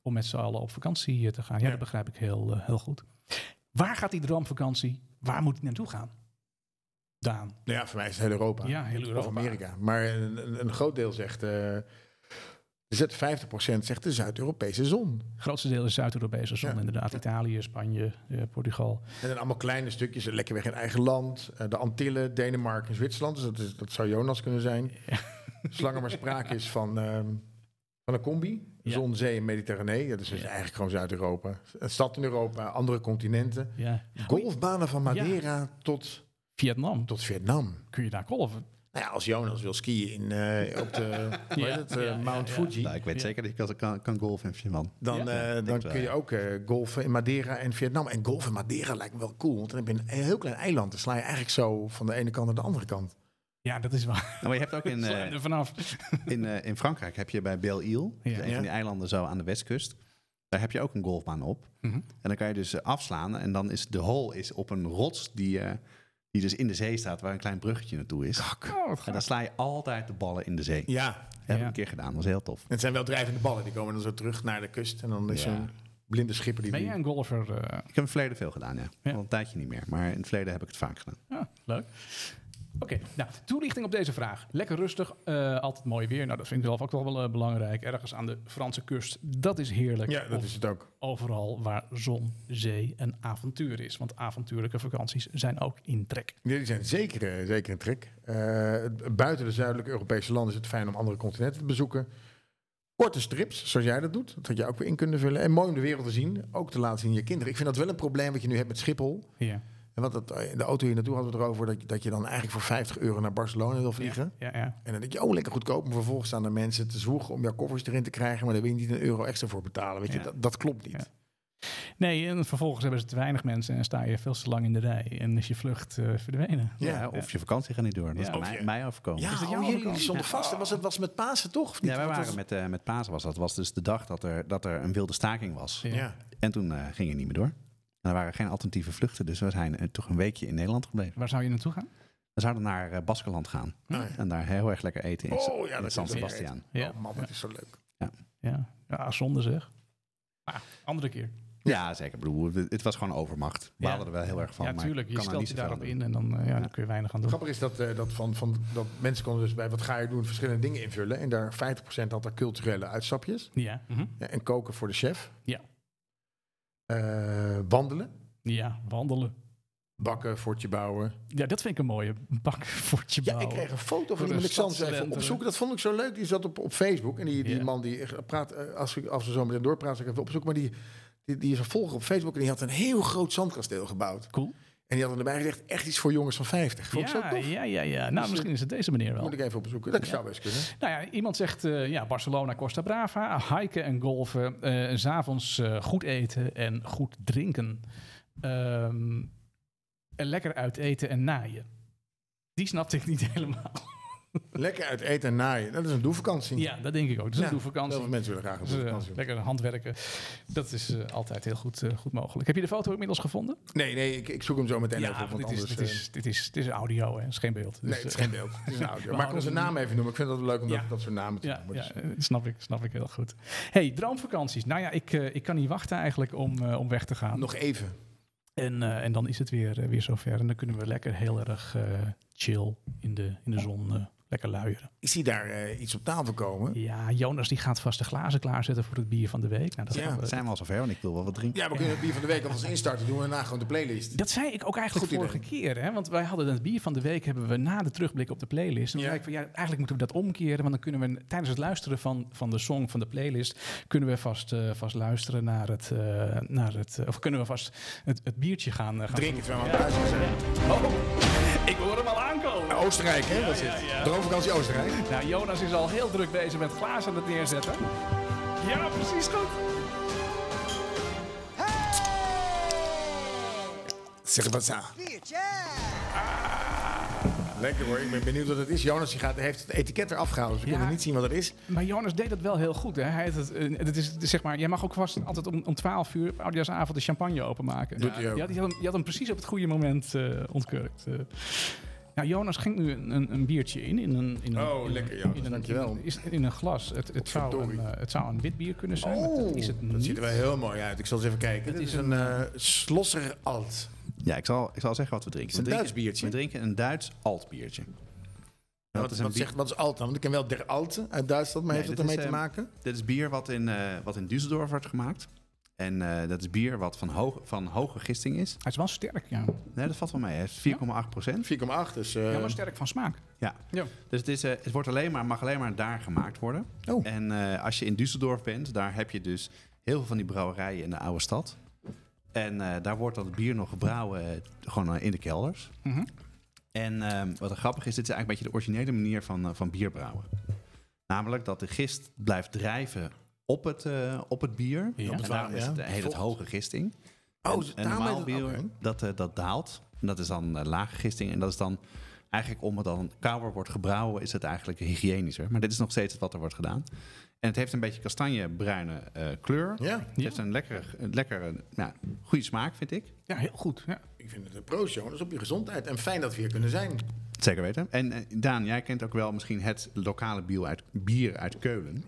om met z'n allen op vakantie eh, te gaan. Ja, Ja. dat begrijp ik heel, eh, heel goed. Waar gaat die droomvakantie? Waar moet die naartoe gaan? Daan. Nou ja, voor mij is het heel Europa. Ja, heel Europa. Of Amerika. Maar een, een- een groot deel zegt... eh, er zit 50% zegt de Zuid-Europese zon. grootste deel is Zuid-Europese zon, Ja. inderdaad. Italië, Spanje, eh, Portugal. En dan allemaal kleine stukjes, lekker weg in eigen land. Eh, de Antillen, Denemarken en Zwitserland. Dus dat, is, dat zou Jonas kunnen zijn. Zolang er maar sprake is van, ehm, van een combi. Ja. Zon, zee en Mediterranee. Ja, dat is dus Ja. eigenlijk gewoon Zuid-Europa. Een stad in Europa, andere continenten. Ja. Golfbanen van Madeira tot, Vietnam, tot Vietnam. kun je daar golven. Nou ja, als Jonas wil skiën in, eh, op de hoe Ja, heet het, eh, ja, ja, Mount ja. Fuji... Nou, ik weet Ja. zeker dat je kan- kan, kan golfen in Vietnam. Dan, Ja. eh, dan denk wel, kun je ja. ook eh, golfen in Madeira en Vietnam. En golfen in Madeira lijkt me wel cool. Want dan heb je een heel klein eiland. Dan sla je eigenlijk zo van de ene kant naar de andere kant. Ja, dat is waar. Nou, maar je hebt ook in, Sla eh, je er vanaf. in, eh, in Frankrijk heb je bij Belle-Île, dat is Ja. een Ja. van die eilanden zo aan de westkust, daar heb je ook een golfbaan op. Mhm. En dan kan je dus eh, afslaan en dan is de hole is op een rots die, eh, die dus in de zee staat, waar een klein bruggetje naartoe is. Oh, wat En dan gaaf. sla je altijd de ballen in de zee. Ja, Dat heb ik Ja. een keer gedaan, dat was heel tof. het zijn wel drijvende ballen. Die komen dan zo terug naar de kust. En dan is Ja. zo'n blinde schipper die... Ben jij die- een golfer? eh? Ik heb in het verleden veel gedaan, ja. Ja. Al een tijdje niet meer, maar in het verleden heb ik het vaak gedaan. Ja, Ah, leuk. Oké, nou, toelichting op deze vraag. Lekker rustig, eh, altijd mooi weer. Nou, dat vind ik zelf ook wel wel, eh, belangrijk. Ergens aan de Franse kust, dat is heerlijk. Ja, dat Of is het ook. Overal waar zon, zee en avontuur is. Want avontuurlijke vakanties zijn ook in trek. Jullie zijn zeker, eh, zeker een trek. Eh, buiten de zuidelijke Europese landen is het fijn om andere continenten te bezoeken. Korte strips, zoals jij dat doet. Dat had je ook weer in kunnen vullen. En mooi om de wereld te zien. Ook te laten zien aan je kinderen. Ik vind dat wel een probleem wat je nu hebt met Schiphol. Ja, En wat dat, in de auto hier naartoe hadden we het erover dat, je- dat je dan eigenlijk voor 50 euro naar Barcelona wil vliegen. ja, ja. En dan denk je, oh, lekker goedkoop. Maar vervolgens staan er mensen te zwoegen om jouw koffers erin te krijgen. Maar daar wil je niet een euro extra voor betalen. Weet Ja. je, dat, dat klopt niet. Ja. Nee, en vervolgens hebben ze te weinig mensen en sta je veel te lang in de rij. En is je vlucht eh, verdwenen. Ja. Ja, of je vakantie gaat niet door, dat is Ja. bij Of mij, je- mij overkomen. Ja, Is dat oh, jouw jullie vakantie? stonden Ja. vast. Dat was, het was met Pasen toch? Of niet? Ja, wij Dat waren was- met, eh met Pasen, was dat. was dus de dag dat er, dat er een wilde staking was. Ja. Ja. En toen eh, ging het niet meer door. En er waren geen alternatieve vluchten, dus we zijn eh, toch een weekje in Nederland gebleven. Waar zou je naartoe gaan? We zouden naar eh, Baskeland gaan Nou ja. en daar heel erg lekker eten in, Oh ja, in dat is San lekker Sebastian. Ja, Oh man, dat is zo leuk. ja. ja zonde zeg. Ah, andere keer. Ja, zeker. Ik bedoel, we- het was gewoon overmacht. We Ja. hadden er wel heel erg van. ja, maar tuurlijk. ik Je kan er stelt niet je zoveel daarop aan doen. in en dan, eh, ja, Ja. dan kun je weinig aan doen. Grappig is dat, eh, dat, van, van, dat mensen konden dus bij wat ga je doen verschillende dingen invullen. En daar 50% had er culturele uitstapjes. Ja. mhm. Ja, en koken voor de chef. Ja. Eh, wandelen. ja, wandelen. Bakken, fortje bouwen. Nou, Ja, dat vind ik een mooie bak voor je Ja, ik bouwen. kreeg een foto Voor van de iemand. Ik zal ze even stadstalenten. opzoeken. Dat vond ik zo leuk. Die zat op, op Facebook. En die, die Ja. man die echt praat, eh, als, we, als we zo meteen doorpraten, zal ik even opzoeken. Maar die, die, die is een volger op Facebook. En die had een heel groot zandkasteel gebouwd. Cool. En die hadden erbij gezegd, echt iets voor jongens van 50. Vond ik zo Ja, tof. ja, ja, ja. Nou, misschien is het deze manier wel. Moet ik even opzoeken. Dat zou best kunnen. Nou ja, iemand zegt eh, ja, Barcelona, Costa Brava, hiken en golven, eh, 's s'avonds goed eten en goed drinken. Ehm, en lekker uit eten en naaien. Die snapte ik niet helemaal. Lekker uit eten en naaien. Dat is een doelvakantie. Ja, dat denk ik ook. Dus Ja, een doelvakantie. Heel veel mensen willen graag een Dus, eh, doelvakantie. lekker handwerken. Dat is eh, altijd heel goed, eh, goed mogelijk. Heb je de foto inmiddels gevonden? nee, nee, ik, ik zoek hem zo meteen even op. want Want dit anders, is, dit, eh, is, dit, is, dit is audio, hè. Het is geen beeld. Dus, nee, het is eh, geen beeld. Het is een audio. Maar ik houden kon zijn naam even noemen. Ik vind het altijd leuk om Ja. dat, dat soort namen te Ja, noemen. ja Dus- eh, snap, ik, snap ik heel goed. hey, droomvakanties. Nou ja, ik, eh, ik kan niet wachten eigenlijk om, eh, om weg te gaan. Nog even. En, eh, en dan is het weer, eh, weer zover. En dan kunnen we lekker heel erg eh, chill in de, in de zon eh, lekker luieren. Ik zie daar eh, iets op tafel komen. Ja, Jonas die gaat vast de glazen klaarzetten voor het bier van de week. Nou, dat, Ja, gaan we- Zijn we al zover, want ik wil wel wat drinken. Ja, we kunnen het bier van de week alvast instarten. Doen we daarna gewoon de playlist. dat zei ik ook eigenlijk Goed idee. vorige keer. Hè? Want wij hadden het bier van de week hebben we na de terugblik op de playlist. En toen Ja. zei ik van ja, eigenlijk moeten we dat omkeren. Want dan kunnen we tijdens het luisteren van, van de song van de playlist. kunnen we vast, eh, vast luisteren naar het. eh, naar het eh, of kunnen we vast het, het biertje gaan, eh, gaan Drink het wel aan thuis zijn. Eh, Oh, ik hoor hem al aankomen. Oostenrijk, hè? dat is het. Droomvakantie Oostenrijk. Nou, Jonas is al heel druk bezig met glazen aan het neerzetten. Ja, precies goed. Zeg wat aan. Biertje! Lekker hoor, ik ben benieuwd wat het is. Jonas die gaat, heeft het etiket eraf gehaald, dus we Ja. kunnen niet zien wat het is. Maar Jonas deed dat wel heel goed. Hè? Hij had het, eh, het is, het is zeg maar, jij mag ook vast altijd om, om 12 uur op oudejaarsavond de champagne openmaken. Doet hij ook. Je had, je had hem, je had hem precies op het goede moment eh, ontkurkt. eh. nou, Jonas ging nu een, een, een biertje in. in, een, in een, Oh, in een- lekker, Jonas, in een- dankjewel. is- In een glas. Het, het, zou een, Godverdorie. eh, het zou een wit bier kunnen zijn, maar dat is het Oh, dat niet. ziet er wel heel mooi uit. Ik zal eens even kijken. Dit is een eh Slosser Alt. Ja, ik zal, ik zal zeggen wat we drinken. Het is een we Duits drinken, biertje. We drinken een Duits altbiertje. Wat, is is een wat, bier- zegt, wat is Alt dan? Want ik ken wel Der Alte uit Duitsland, maar Nee, heeft het dit ermee is, te eh, maken? Dit is bier wat in, eh, wat in Düsseldorf wordt gemaakt. En eh, dat is bier wat van, hoog, van hoge gisting is. Hij is wel sterk, Eh. ja. Nee, dat valt wel mee. hè. Het is 4,8 procent. 4,8, dus... eh, Ja, maar sterk van smaak. Ja. Ja. Dus het, is, eh, het wordt alleen maar, mag alleen maar daar gemaakt worden. Oh. En eh, als je in Düsseldorf bent, daar heb je dus heel veel van die brouwerijen in de oude stad. En eh, daar wordt dat bier nog gebrouwen eh, gewoon eh, in de kelders. Mhm. En ehm, wat er grappig is, dit is eigenlijk een beetje de originele manier van, eh, van bier brouwen. Namelijk dat de gist blijft drijven op het, eh, op het bier. Ja. En daarom is het, Ja. eh, heet het hoge gisting. Oh, En- ze- en daarmee normaal dat- bier, oké. dat, eh, dat daalt. En dat is dan eh, lage gisting. En dat is dan eigenlijk om het dan kouder wordt gebrouwen, is het eigenlijk hygiënischer. Maar dit is nog steeds wat er wordt gedaan. En het heeft een beetje kastanjebruine eh, kleur. Het ja, heeft een lekkere, een lekkere nou, goede smaak, vind ik. Ja, heel goed. Ja. ik vind het een proost, Jonas, op je gezondheid. En fijn dat we hier kunnen zijn. Zeker weten. En eh, Daan, jij kent ook wel misschien het lokale bier uit, bier uit Keulen.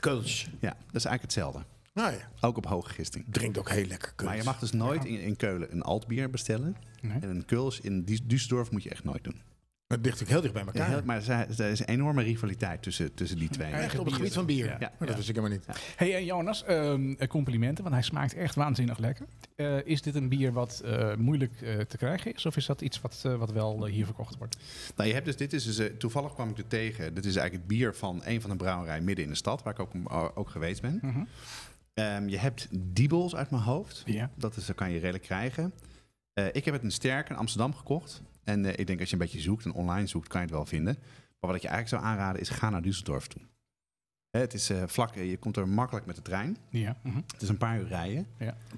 Kulsch. Ja, dat is eigenlijk hetzelfde. Nou ja, Ook op hoge gisting. drinkt ook heel lekker Kulsch. Maar je mag dus nooit in, in Keulen een altbier bestellen. Nee. En een Kuls in Dies- Düsseldorf moet je echt nooit doen. Het ligt ook heel dicht bij Ja, elkaar. heel- maar zij- er is een enorme rivaliteit tussen, tussen die twee. Echt op het gebied van bier. Ja. Maar dat wist ik helemaal niet. Hey en Jonas, ehm, eh, complimenten, want hij smaakt echt waanzinnig lekker. Eh, is dit een bier wat eh, moeilijk eh, te krijgen is, of is dat iets wat, eh, wat wel eh, hier verkocht wordt? Nou, je hebt dus, dit is dus, eh, toevallig kwam ik er tegen. Dit is eigenlijk het bier van een van de brouwerijen midden in de stad, waar ik ook, eh, ook geweest ben. Ehm, je hebt Diebels uit mijn hoofd. Ja. Dat is, dat kan je redelijk krijgen. Eh, ik heb het een sterk in Amsterdam gekocht. En eh, ik denk als je een beetje zoekt en online zoekt, kan je het wel vinden. Maar wat ik je eigenlijk zou aanraden is, ga naar Düsseldorf toe. Hè, het is eh, vlak, eh, je komt er makkelijk met de trein. Ja. mhm. Het is een paar uur rijden.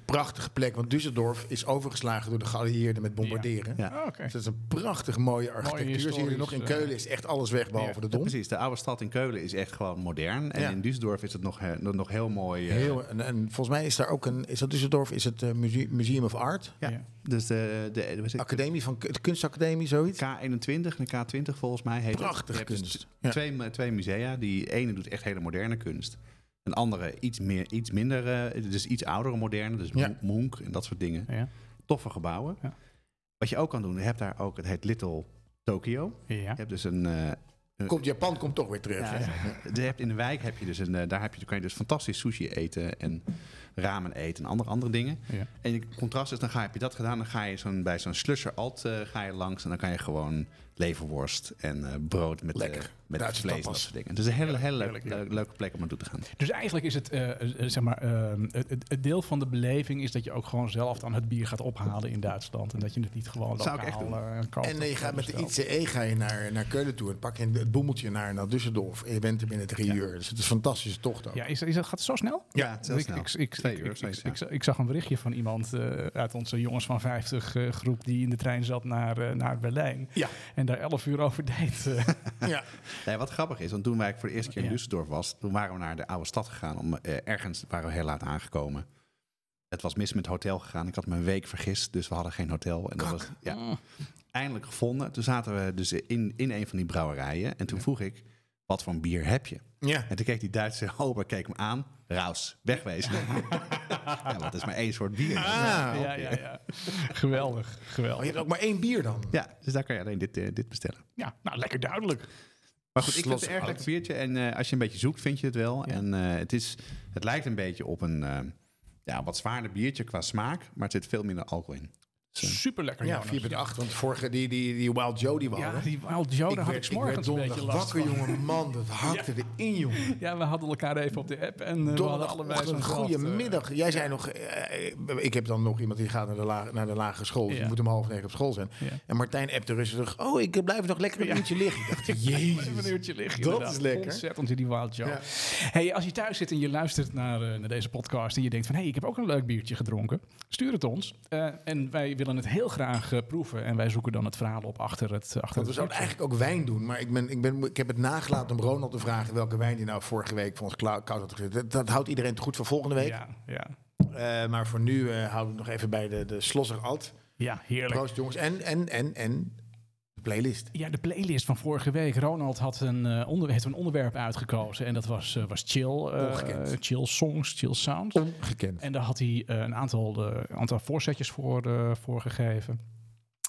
Prachtige plek, want Düsseldorf is overgeslagen door de geallieerden met bombarderen. Ja. Oh, oké. Dus dat is een prachtig mooie architectuur. Zie je historisch, nog in eh, Keulen is echt alles weg behalve de Ja, dom. precies, de oude stad in Keulen is echt gewoon modern. En Ja. in Düsseldorf is het nog, eh, nog heel mooi. eh, Heel, en, en volgens mij is daar ook een, is dat Düsseldorf, is het eh, muse- Museum of Art? ja. Ja. Dus de, de, de- Academie van de kunstacademie, zoiets? K21 en K20 volgens mij heet Prachtige het. Je hebt dus kunst. t- Ja. Twee, mu- twee musea. Die ene doet echt hele moderne kunst. Een andere iets, meer, iets minder, eh, dus iets oudere moderne. Dus Ja. Mo- Monk en dat soort dingen. Ja. Toffe gebouwen. Ja. Wat je ook kan doen, je hebt daar ook, het heet Little Tokyo. Ja. Je hebt dus een... eh, Komt Japan komt toch weer terug. Ja, hè? je hebt in de wijk heb je dus een, eh, daar heb je, dan kan je dus fantastisch sushi eten. En ramen eten en andere, andere dingen. Ja. En het contrast is, dan ga, heb je dat gedaan, dan ga je zo'n, bij zo'n slusser alt eh, ga je langs en dan kan je gewoon leverworst en eh, brood met, Lekker. eh, met Duitse vlees en dat tapas. soort dingen. Het is een hele, hele leuk- heerlijk, ja. leuk- leuke plek om naartoe te gaan. Dus eigenlijk is het, eh, eh, zeg maar, eh, het, het- het deel van de beleving is dat je ook gewoon zelf dan het bier gaat ophalen in Duitsland. En dat je het niet gewoon Zou ik lokaal, echt doen. eh, koopt En of eh, je gaat met de bestelt. ICE ga je naar, naar Keulen toe en pak je het boemeltje naar, naar Düsseldorf. En je bent er binnen drie uur. Dus het is een fantastische tocht ook. Ja, is, is, dat- gaat het zo snel? Ja, het is heel ik, snel. Ik, ik, Twee ik- uur, ik, zoiets, ik, ja. ik za- ik zag een berichtje van iemand eh, uit onze jongens van 50 eh, groep die in de trein zat naar, eh, naar Berlijn. Ja. En daar 11 uur over deed. eh. Ja. Nee, wat grappig is, want toen wij voor de eerste keer in Ja. Düsseldorf was, toen waren we naar de oude stad gegaan. Om, eh, ergens waren we heel laat aangekomen. Het was mis met het hotel gegaan. Ik had me een week vergist, dus we hadden geen hotel. En dat was ja, eindelijk gevonden. Toen zaten we dus in, in een van die brouwerijen. En toen vroeg ik, wat voor een bier heb je? ja. En toen keek die Duitse ober, keek hem aan. Raus, wegwezen. ja, want het is maar één soort bier. Ah. ja, ja, ja. Geweldig, Oh, geweldig. je hebt ook maar één bier dan. Ja, dus daar kan je alleen dit, eh, dit bestellen. Ja, nou, lekker duidelijk. Maar goed, ik vind het Slot een erg oud. lekker biertje. En eh, als je een beetje zoekt, vind je het wel. En eh, het, is, het lijkt een beetje op een eh, ja, wat zwaarder biertje qua smaak. Maar het zit veel minder alcohol in. Super lekker, Ja, 4,8. Want vorige, die, die, die Wild Joe die we Ja, hadden. die Wild Joe, daar had ik werd, ik werd s'morgens een beetje donderdag last wakker, van. jongen. Man, dat hakte erin, jongen. Ja, we hadden elkaar even op de app en eh, we hadden allebei zo'n eh, Donderdagochtend, goedemiddag. Jij zei nog, eh, ik heb dan nog iemand die gaat naar de, la- naar de lagere school. Dus Ja. je moet om half negen op school zijn. Ja. En Martijn appte rustig terug. Oh, ik blijf nog lekker een uurtje liggen. Ik dacht, Even een jezus. uurtje liggen. Dat inderdaad. is lekker. Ontzettend die Wild Joe. Ja. Hey, als je thuis zit en je luistert naar, eh, naar deze podcast en je denkt van... hé, hey, ik heb ook een leuk biertje gedronken. Stuur het ons. Eh, en wij willen het heel graag eh, proeven. En wij zoeken dan het verhaal op achter het... eh, Achter Want we het zouden biertje. eigenlijk ook wijn doen. Maar ik, ben, ik, ben, ik heb het nagelaten om Ronald te vragen welke wijn die nou vorige week voor ons kla- koud had gezet. Dat, dat houdt iedereen te goed voor volgende week. Ja, ja. Eh, maar voor nu eh houden we het nog even bij de, de Slosser Alt. ja, heerlijk. Proost jongens. En, en, en, en de playlist. Ja, de playlist van vorige week. Ronald had een, eh, onder, heeft een onderwerp uitgekozen. En dat was, eh, was chill. eh, Ongekend. chill songs, chill sounds. Ongekend. En daar had hij eh, een aantal, eh, aantal voorzetjes voor, eh, voor gegeven.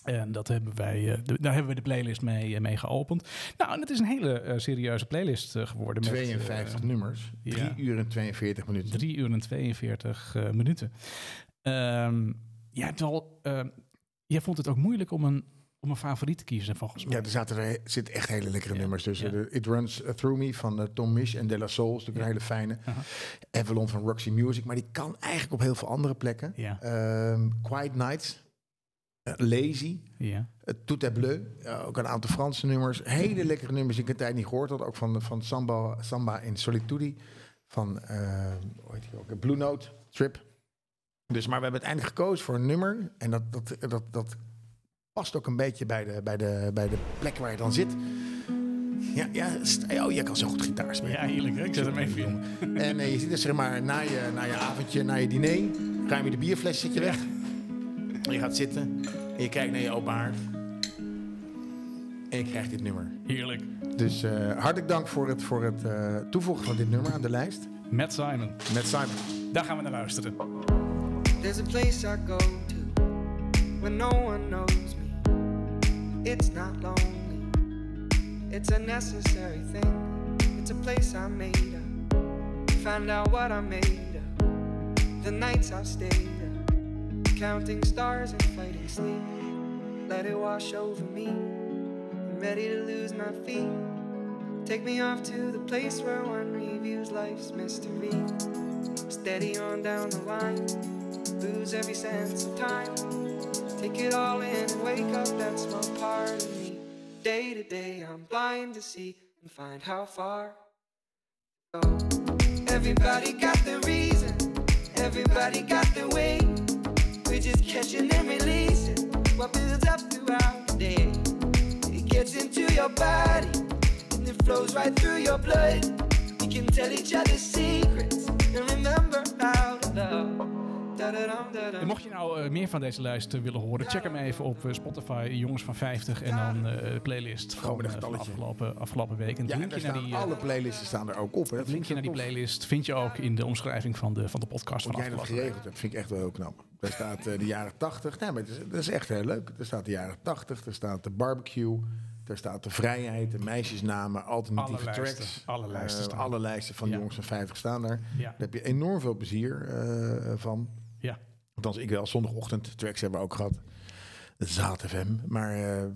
En dat hebben wij, eh, de- daar hebben we de playlist mee, eh, mee geopend. Nou, en het is een hele eh, serieuze playlist eh, geworden. met, eh, 52 nummers. ja. 3 uur en 42 minuten. 3 uur en 42 eh, minuten. Ehm jij, hebt wel, ehm, jij vond het ook moeilijk om een, om een favoriet te kiezen, volgens mij. Ja, er zaten er zit echt hele lekkere Ja, nummers tussen. ja. De It Runs Through Me van eh, Tom Misch en De La Soul is natuurlijk een hele fijne. Aha. Avalon van Roxy Music, maar die kan eigenlijk op heel veel andere plekken. Ja. Ehm, Quiet Nights, eh, Lazy, ja. eh, Tout est bleu, eh, ook een aantal Franse nummers. Hele lekkere nummers die ik een tijd niet gehoord had. Ook van, van Samba, Samba in Solitude, van eh, hoe heet die ook? eh, Blue Note, Trip. Dus, maar we hebben uiteindelijk gekozen voor een nummer. En dat, dat, dat, dat past ook een beetje bij de, bij, de, bij de plek waar je dan zit. Ja, ja st- oh, jij kan zo goed gitaar spelen. Ja, heerlijk, hè? Ik zet hem even in. En eh, je zit dus zeg maar na je, na je avondje, na je diner, ruim je de bierfles, zit je weg. En je gaat zitten en je kijkt naar je open haard. En je krijgt dit nummer. Heerlijk. Dus eh, hartelijk dank voor het, voor het eh, toevoegen van dit nummer aan de lijst. Met Simon. Met Simon. Daar gaan we naar luisteren. There's a place I go to when no one knows me. It's not lonely, it's a necessary thing. It's a place I made up. Find out what I made up. The nights I've stayed up, counting stars and fighting sleep. Let it wash over me. I'm ready to lose my feet. Take me off to the place where one reviews life's mystery. Steady on down the line lose every sense of time. Take it all in and wake up, that's my part of me. Day to day, I'm blind to see and find how far to go. Everybody got their reason, everybody got their way. We're just catching and releasing what builds up throughout the day. It gets into your body and it flows right through your blood. We can tell each other secrets and remember how to love. Da-da-dum-da-dum. En mocht je nou eh, meer van deze lijst eh, willen horen, check hem even op eh, Spotify, Jongens van 50. En dan eh, de playlist Gewoon met van, een eh, van getalletje. afgelopen, afgelopen week. En het Ja, en linkje daar naar staan die, eh, alle playlisten staan er ook op. Hè. Dat het linkje naar die playlist vind je ook in de omschrijving van de, van de podcast Hoe van jij dat afgelopen week. geregeld hebt, vind ik echt wel heel knap. Daar eh, staat Daar staat de vrijheid, de meisjesnamen, alternatieve Alle tracks. lijsten, alle lijsten Eh, staan. alle lijsten van Ja. jongens van 50 staan daar. Ja. Daar heb je enorm veel plezier eh, van. Ja. Althans, ik wel. Zondagochtend tracks hebben we ook gehad. ZaatFM. Maar, eh,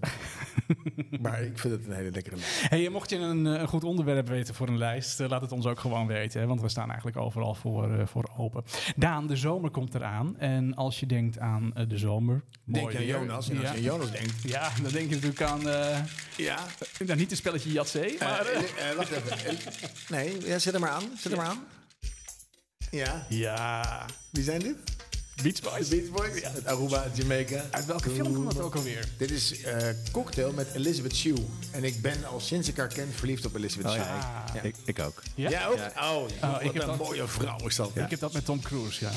maar ik vind het een hele lekkere lijst. Hey, mocht je een, eh, een goed onderwerp weten voor een lijst, eh, laat het ons ook gewoon weten. Hè, want we staan eigenlijk overal voor, eh, voor open. Daan, de zomer komt eraan. En als je denkt aan eh, de zomer. Denk mooi je aan weer. Jonas. En als Ja. je aan Jonas denkt... Ja, dan denk je natuurlijk aan. eh, Ja, nou, niet het spelletje Jatzee, maar. eh, Eh, eh, wacht even. Eh, Nee, ja, zet hem maar aan. Zet hem maar aan. Ja. ja, Wie zijn dit? Beach Boys. Beach Boys? Uit Aruba, Jamaica. Uit welke film komt dat ook alweer? Dit is eh, Cocktail met Elizabeth Shue. En ik ben al sinds ik haar ken verliefd op Elizabeth Shue. Ah. Ik, ik, ik ook. Ja? Jij ook? Oh, wat heb een dat- mooie vrouw is dat. Ik heb dat met Tom Cruise, ja.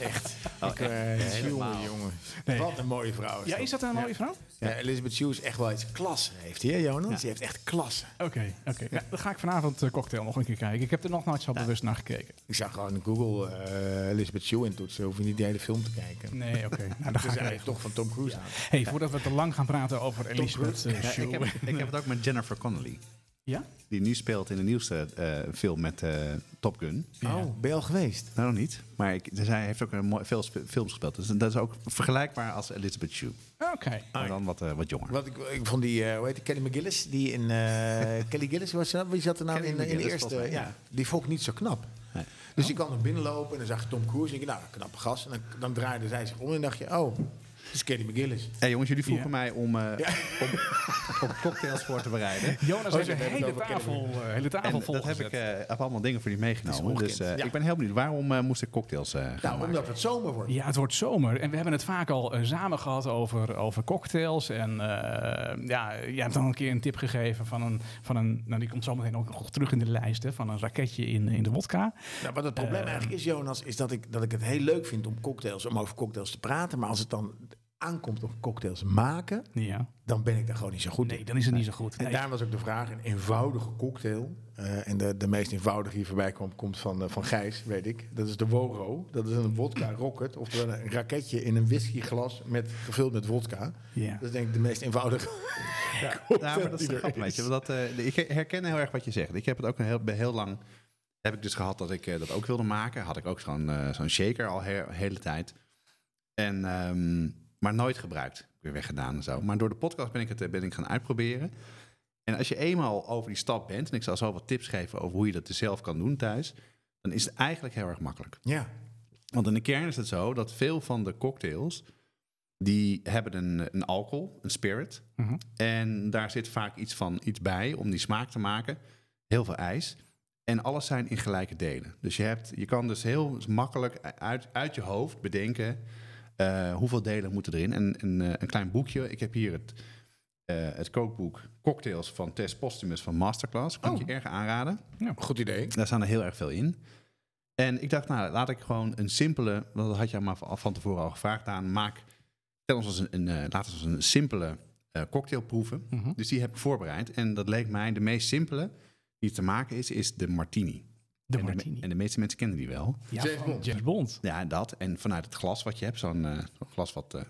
echt. Oh, Ik, eh, jongen, jongen. Nee. Wat een mooie vrouw is Ja, dat. is dat een mooie vrouw? Ja, Elizabeth Shue is echt wel iets klasse. Heeft hij, hè, Jonas? Die heeft echt klasse. Oké, oké. Ja, dan ga ik vanavond eh, Cocktail nog een keer kijken. Ik heb er nog nooit zo bewust naar gekeken. Ik zou gewoon in Google eh, Elizabeth Shue intoetsen. Hoef je niet de hele film te kijken. Nee, oké. Nou, Het dan ga is ik eigenlijk regelen. toch van Tom Cruise aan. Hey, voordat we te lang gaan praten over Elizabeth eh, Ja, Shue. ik, heb, ik heb het ook met Jennifer Connelly. Ja? Die nu speelt in de nieuwste eh, film met eh, Top Gun. Oh, ben je al geweest? Nou, nog niet. Maar ik, zij heeft ook een mooi, veel sp- films gespeeld. Dus dat is ook vergelijkbaar als Elizabeth Shue. Oké. Maar dan wat, eh, wat jonger. Wat ik, ik vond die, eh hoe heet die, Kelly McGillis, die in, eh, Kelly Gillis, was ze nou? wie zat er nou Kelly in, eh, in de McGillis, eerste, volgens mij, ja, ja. die vond ik niet zo knap. Dus die kwam naar binnen lopen en dan zag je Tom Cruise en ik dacht, nou, knappe gast. En dan, dan draaide zij zich om en dacht je, oh, dat is Kelly McGillis. Hey, jongens, jullie vroegen Ja. mij om, eh, om, om cocktails voor te bereiden. Jonas heeft ze een hebben het hele over tafel, eh, hele En tafel vol. dat heb ik eh, heb allemaal dingen voor jullie meegenomen. Het is Dus ongekend. eh, Ja. ik ben heel benieuwd. Waarom eh, moest ik cocktails eh, gaan Nou, maken? omdat het zomer wordt. Ja, het wordt zomer. En we hebben het vaak al eh, samen gehad over, over cocktails. En eh, ja, jij hebt dan een keer een tip gegeven van een... Van een nou, die komt zometeen ook nog terug in de lijst, hè, van een raketje in, in de wodka. Nou, wat het probleem eigenlijk is, Jonas, is dat ik, dat ik het heel leuk vind om cocktails, om over cocktails te praten. Maar als het dan aankomt op cocktails maken, Ja. dan ben ik daar gewoon niet zo goed in. Nee, dan is het niet zo goed. En Nee. daar was ook de vraag, een eenvoudige cocktail. eh, en de, de meest eenvoudige die voorbij kwam, komt van, eh, van Gijs, weet ik. Dat is de Woro. Dat is een vodka rocket, oftewel een raketje in een whiskyglas met, gevuld met vodka. Ja. Dat is denk ik de meest eenvoudige. Ja, Nou, maar dat is die de er grap, weet je. Want dat, eh, ik herken heel erg wat je zegt. Ik heb het ook een heel, bij heel lang... Heb ik dus gehad dat ik eh, dat ook wilde maken. Had ik ook zo'n eh, zo'n shaker al he- hele tijd. En, ehm, maar nooit gebruikt. Weer weggedaan en zo. Maar door de podcast ben ik het eh, ben ik gaan uitproberen. En als je eenmaal over die stap bent... en ik zal zo wat tips geven over hoe je dat dus zelf kan doen thuis... dan is het eigenlijk heel erg makkelijk. Ja. Want in de kern is het zo dat veel van de cocktails... die hebben een, een alcohol, een spirit... Mhm. En daar zit vaak iets van iets bij om die smaak te maken. Heel veel ijs. En alles zijn in gelijke delen. Dus je, hebt, je kan dus heel makkelijk uit, uit je hoofd bedenken eh, hoeveel delen moeten erin. En, en eh, een klein boekje. Ik heb hier het, eh, het kookboek Cocktails van Tess Postumus van Masterclass. Kan ik je erg aanraden. Goed idee. Daar staan er heel erg veel in. En ik dacht, nou, laat ik gewoon een simpele... want Dat had jij maar van van tevoren al gevraagd aan. Maak, tel ons als een, een, eh, laat ons een simpele eh, cocktail proeven. Dus die heb ik voorbereid. En dat leek mij de meest simpele die te maken is, is de martini. De en, me- martini. en de meeste mensen kennen die wel. Ja, James van Bond. James Bond. Ja, dat. En vanuit het glas wat je hebt, zo'n eh, zo'n glas wat... eh,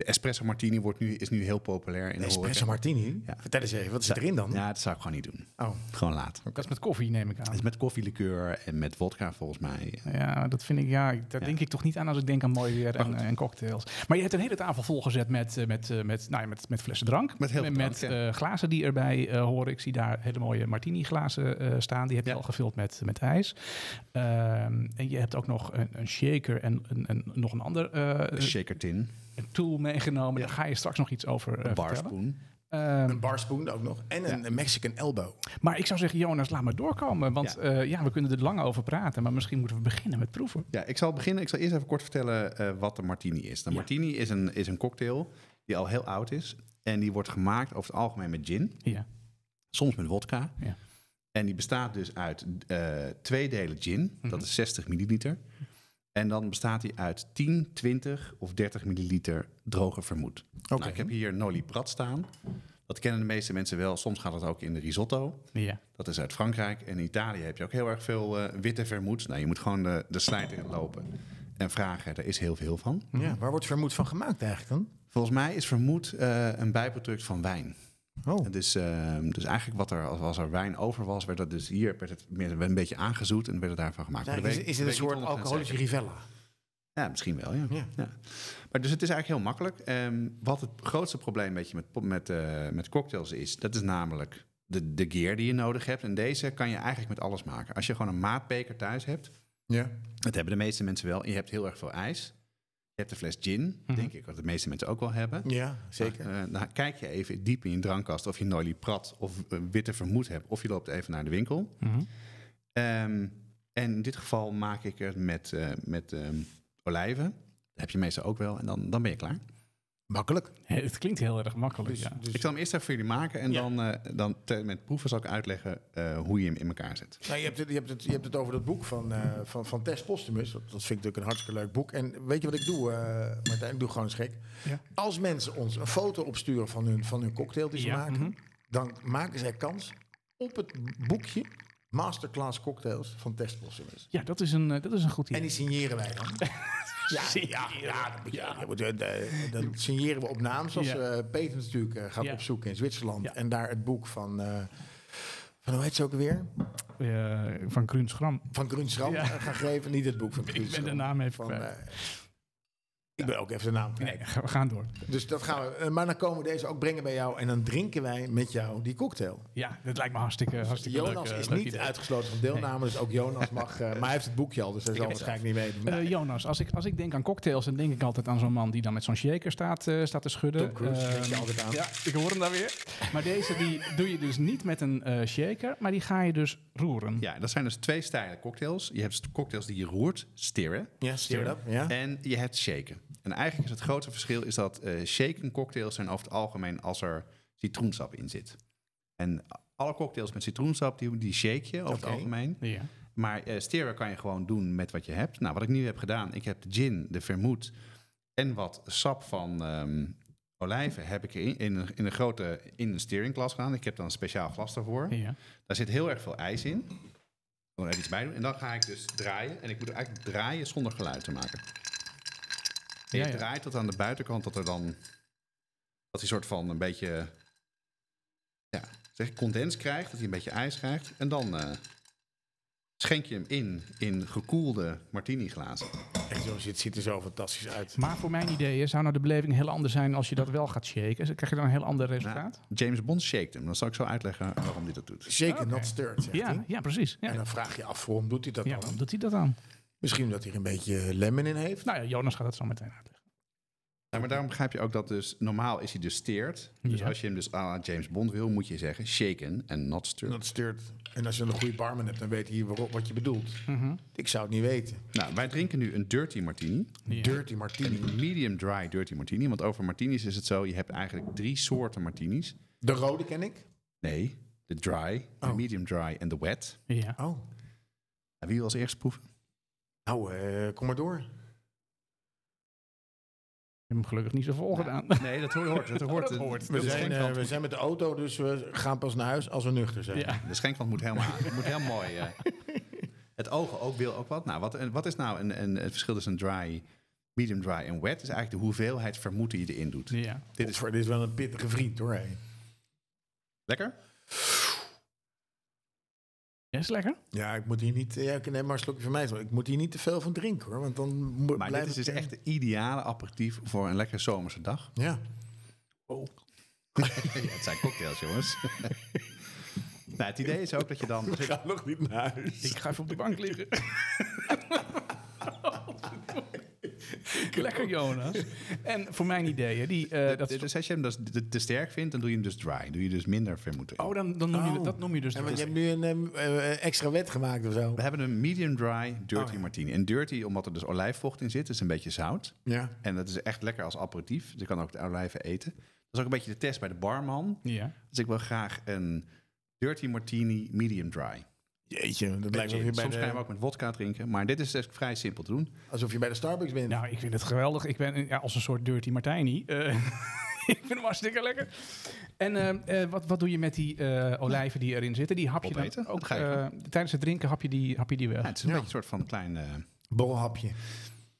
de espresso martini wordt nu, is nu heel populair in de horeca. Espresso martini. Ja. Vertel eens even, wat zit erin dan? Ja, dat zou ik gewoon niet doen. Oh. Gewoon laat. Dat is met koffie, neem ik aan. Dat is met koffielikeur en met vodka volgens mij. eh, Ja, dat vind ik, ja, ik- daar denk ik toch niet aan als ik denk aan mooi weer en, eh, en cocktails. Maar je hebt een hele tafel volgezet met, eh, met, eh, met, nou ja, met, met flessen drank. Met heel veel met drank, ja. eh, glazen die erbij eh, horen. Ik zie daar hele mooie martini glazen eh, staan. Die heb je Ja. al gevuld met, met ijs. Ehm, en je hebt ook nog een, een shaker en een, een, nog een ander eh, Een shaker tin, een tool meegenomen. Daar ga je straks nog iets over eh, een vertellen. barspoon. Ehm, Een barspoon ook nog. En een Mexican elbow. Mhm. maar ik zou zeggen, Jonas, laat maar doorkomen. Want Ja. ja, ja we kunnen er lang over praten. Maar misschien moeten we beginnen met proeven. Ja, ik zal beginnen. Ik zal eerst even kort vertellen eh, wat de martini is. De Ja. martini is een, is een cocktail die al heel oud is. En die wordt gemaakt over het algemeen met gin, Ja, soms met wodka. ja. En die bestaat dus uit eh, twee delen gin, Mhm. dat is 60 milliliter. En dan bestaat die uit 10, 20 of 30 milliliter droge vermoed. Nou, ik heb hier Noli Prat staan. Dat kennen de meeste mensen wel. Soms gaat het ook in de risotto. ja. Dat is uit Frankrijk. En in Italië heb je ook heel erg veel eh, witte vermoed. Nou, je moet gewoon de, de slijter in lopen en vragen. Er is heel veel van. Ja, waar wordt vermoed van gemaakt eigenlijk dan? Volgens mij is vermoed eh, een bijproduct van wijn. Oh. Het is, ehm, dus eigenlijk wat er, als- als er wijn over was, werd dat dus hier werd het meer, werd een beetje aangezoet en werd het daarvan gemaakt. Maar dat is, weet ik- is het een weet ik niet soort 100% alcoholische zeker. rivella? Ja, misschien wel, ja. Ja. Ja. Maar dus het is eigenlijk heel makkelijk. Ehm, wat het grootste probleem een beetje met, pop- met, eh, met cocktails is, dat is namelijk de, de gear die je nodig hebt. En deze kan je eigenlijk met alles maken. Als je gewoon een maatbeker thuis hebt, Ja. dat hebben de meeste mensen wel. en Je hebt heel erg veel ijs. Je hebt een fles gin, denk ik, wat de meeste mensen ook wel hebben. Ja, zeker. Nou, eh, nou, kijk je even diep in je drankkast of je Nolly Prat of eh, witte vermoed hebt. Of je loopt even naar de winkel. Mhm. Ehm, en in dit geval maak ik het met, eh, met ehm, olijven. Dat heb je meestal ook wel. En dan, dan ben je klaar. Makkelijk. Hé, Het klinkt heel erg makkelijk, Dus ja. Ik zal hem eerst even voor jullie maken. En dan, eh, dan te- met proeven zal ik uitleggen eh, hoe je hem in elkaar zet. Nou, je, hebt het, je, hebt het, je hebt het over dat boek van, eh van, van Tess Postumus. Dat, dat vind ik natuurlijk een hartstikke leuk boek. En weet je wat ik doe, eh Martijn? Ik doe gewoon eens gek. Ja. Als mensen ons een foto opsturen van hun, van hun cocktail die ze Ja, maken... mhm. dan maken zij kans op het boekje Masterclass Cocktails van Tess Postumus. Ja, dat is een, eh, dat is een goed En idee. die signeren wij dan. ja, ja, ja, dat moet je- dat moet je- eh, dan signeren we op naam. Zoals Ja. eh, Peter natuurlijk eh, gaat Ja. opzoeken in Zwitserland. Ja. En daar het boek van... eh, van hoe heet ze ook weer? Eh, van Kruns Gram. Van Grunschram Ja. gaan geven. Niet het boek van Ik ben Grunschram. de naam even Van, kwijt. eh, ik ben ook even de naam kwijt. Nee, ga- we gaan door. Dus dat gaan we. eh, Maar dan komen we deze ook brengen bij jou. En dan drinken wij met jou die cocktail. Ja, dat lijkt me hartstikke, hartstikke Jonas leuk, eh, is leuk niet idee. uitgesloten van deelname. Dus ook Jonas mag. eh, maar hij heeft het boekje al. Dus hij zal heb het waarschijnlijk niet Eh, meedoen. Jonas, als ik, als ik denk aan cocktails, dan denk ik altijd aan zo'n man die dan met zo'n shaker staat, eh, staat te schudden. Tom Cruise, Ehm, denk je altijd aan. Ja, ik hoor hem daar weer. Maar deze die doe je dus niet met een eh, shaker, maar die ga je dus roeren. Ja, dat zijn dus twee stijlen cocktails. Je hebt cocktails die je roert, stirren. Ja, stir it up. Ja. En je hebt shaken. En eigenlijk is het grote verschil is dat eh shaken cocktails zijn over het algemeen als er citroensap in zit. En alle cocktails met citroensap, die, die shake je over Oké. het algemeen. Ja. Maar eh steren kan je gewoon doen met wat je hebt. Nou, wat ik nu heb gedaan, ik heb de gin, de vermoed en wat sap van ehm, olijven heb ik in, in, een, in een grote in een steeringklas gedaan. Ik heb dan een speciaal glas daarvoor. Ja. Daar zit heel erg veel ijs in. Ik wil er even iets bij doen. En dan ga ik dus draaien. En ik moet er eigenlijk draaien zonder geluid te maken. En je Ja, ja. draait tot aan de buitenkant dat er dan... Dat hij soort van een beetje... Ja, zeg ik, condens krijgt. Dat hij een beetje ijs krijgt. En dan eh, schenk je hem in, in gekoelde martini glazen. En zo ziet, ziet er zo fantastisch uit. Maar voor mijn idee zou nou de beleving heel anders zijn als je dat wel gaat shaken. Dan krijg je dan een heel ander resultaat. James Bond shaked hem. Dan zal ik zo uitleggen waarom hij dat doet. Shaken, not stirred, zegt Ja, hij. ja, precies. En Ja. dan vraag je af, waarom doet hij dat Ja, dan? waarom doet hij dat dan? Misschien omdat hij er een beetje lemon in heeft. Nou ja, Jonas gaat dat zo meteen uitleggen. Nou, maar daarom begrijp je ook dat dus... Normaal is hij dus steert. Dus Ja. als je hem dus à la James Bond wil, moet je zeggen... Shaken en not stirred. Dat steert. En als je een goede barman hebt, dan weet hij waarop, wat je bedoelt. Ik zou het niet weten. Nou, wij drinken nu een dirty martini. Ja. Dirty martini. Een medium dry dirty martini. Want over martinis is het zo, je hebt eigenlijk drie soorten martinis. De rode ken ik. Nee, de dry, de Oh. medium dry en de wet. Ja. Oh. En wie wil als eerste proeven? Nou, eh, kom maar door. Ik heb hem gelukkig niet zo vol gedaan. Nee, dat hoort. Dat hoort. Dat hoort. De, We zijn, eh, schenkwand, we zijn met de auto, dus we gaan pas naar huis als we nuchter zijn. Ja. de schenkwand moet helemaal aan. moet heel mooi. eh. het ogen ook wil ook wat. Nou, wat, en wat is nou een, een, het verschil tussen een dry, medium dry en wet? Is eigenlijk de hoeveelheid vermoed die je erin doet. Ja. Dit, is voor, dit is wel een pittige vriend hoor. hé. Lekker? Ja, is lekker. Ja, ik moet hier niet. eh, Ja, ik neem maar een slokje van mij. Ik moet hier niet te veel van drinken hoor. Want dan mo- Maar dit blijft is dus het- echt de ideale aperitief voor een lekkere zomerse dag. Ja. Oh, Ja, het zijn cocktails, jongens. nou, het idee is ook dat je dan... Ik ga nog niet naar huis. Ik ga even op de bank liggen. Lekker, Jonas. En voor mijn ideeën, die... eh, dat is- dus als je hem dus te, te sterk vindt, dan doe je hem dus dry. Doe je dus minder vermoeden. in. oh, dan, dan noem je, Oh. dat noem je dus... En want je hebt nu een ehm, eh, extra wet gemaakt of zo. We hebben een medium dry dirty Oh, ja. martini. En dirty, omdat er dus olijfvocht in zit, is een beetje zout. Ja. En dat is echt lekker als aperitief. Dus je kan ook de olijven eten. Dat is ook een beetje de test bij de barman. ja. Dus ik wil graag een dirty martini medium dry. Jeetje, dat lijkt alsof je, Soms bij gaan we de, ook met wodka drinken. Maar dit is dus vrij simpel te doen. alsof je bij de Starbucks bent. Nou, ik vind het geweldig. Ik ben eh, ja, als een soort dirty martini. Eh, ik vind hem hartstikke lekker. En eh, eh, wat, wat doe je met die eh, olijven die erin zitten? Die hap je Opeten? dan ook... Dat ga je eh, tijdens het drinken hap je die, hap je die weg. Ja, het is een beetje een soort van klein... eh, Borrelhapje.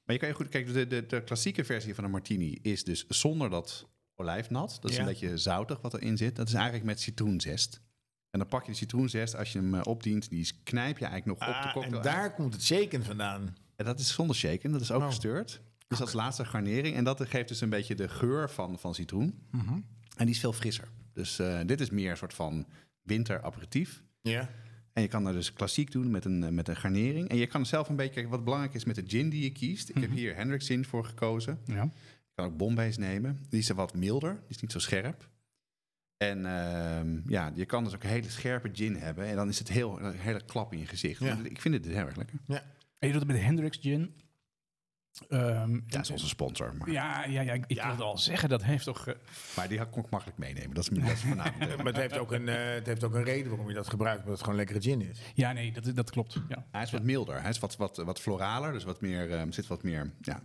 Maar je kan je goed kijken, de, de, de klassieke versie van een martini is dus zonder dat olijfnat. Dat is Ja. een beetje zoutig wat erin zit. Dat is eigenlijk met citroenzest. En dan pak je de citroenzest, als je hem eh, opdient, die is- knijp je eigenlijk nog op de Ah, cocktail. en daar Oh. komt het shaken vandaan. En dat is zonder shaken, dat is ook gestuurd. Dus dat is laatste garnering. En dat geeft dus een beetje de geur van, van citroen. Mhm. En die is veel frisser. Dus eh, dit is meer een soort van winteraperitief. Ja. En je kan dat dus klassiek doen met een, eh, met een garnering. En je kan zelf een beetje kijken wat belangrijk is met de gin die je kiest. Ik Mhm. heb hier Hendrick gin voor gekozen. Ja. Ik kan ook Bombays nemen. Die is er wat milder, die is niet zo scherp. En ehm, ja, je kan dus ook een hele scherpe gin hebben. En dan is het heel, een hele klap in je gezicht. Ja. Maar Ik vind het heel erg lekker. En je doet het met Hendrix Gin. Ehm, en- Ja, is onze sponsor. Maar, ja, ja, ja, ik ik wilde al zeggen, dat heeft toch... eh, maar die kon ik makkelijk meenemen. Dat is, dat is vanavond. eh, Maar het heeft, ook een, eh, het heeft ook een reden waarom je dat gebruikt, omdat het gewoon lekkere gin is. ja, nee, dat, dat klopt. Ja. Hij is wat milder. Hij is wat, wat, wat floraler. Dus wat meer, ehm, zit wat meer ja,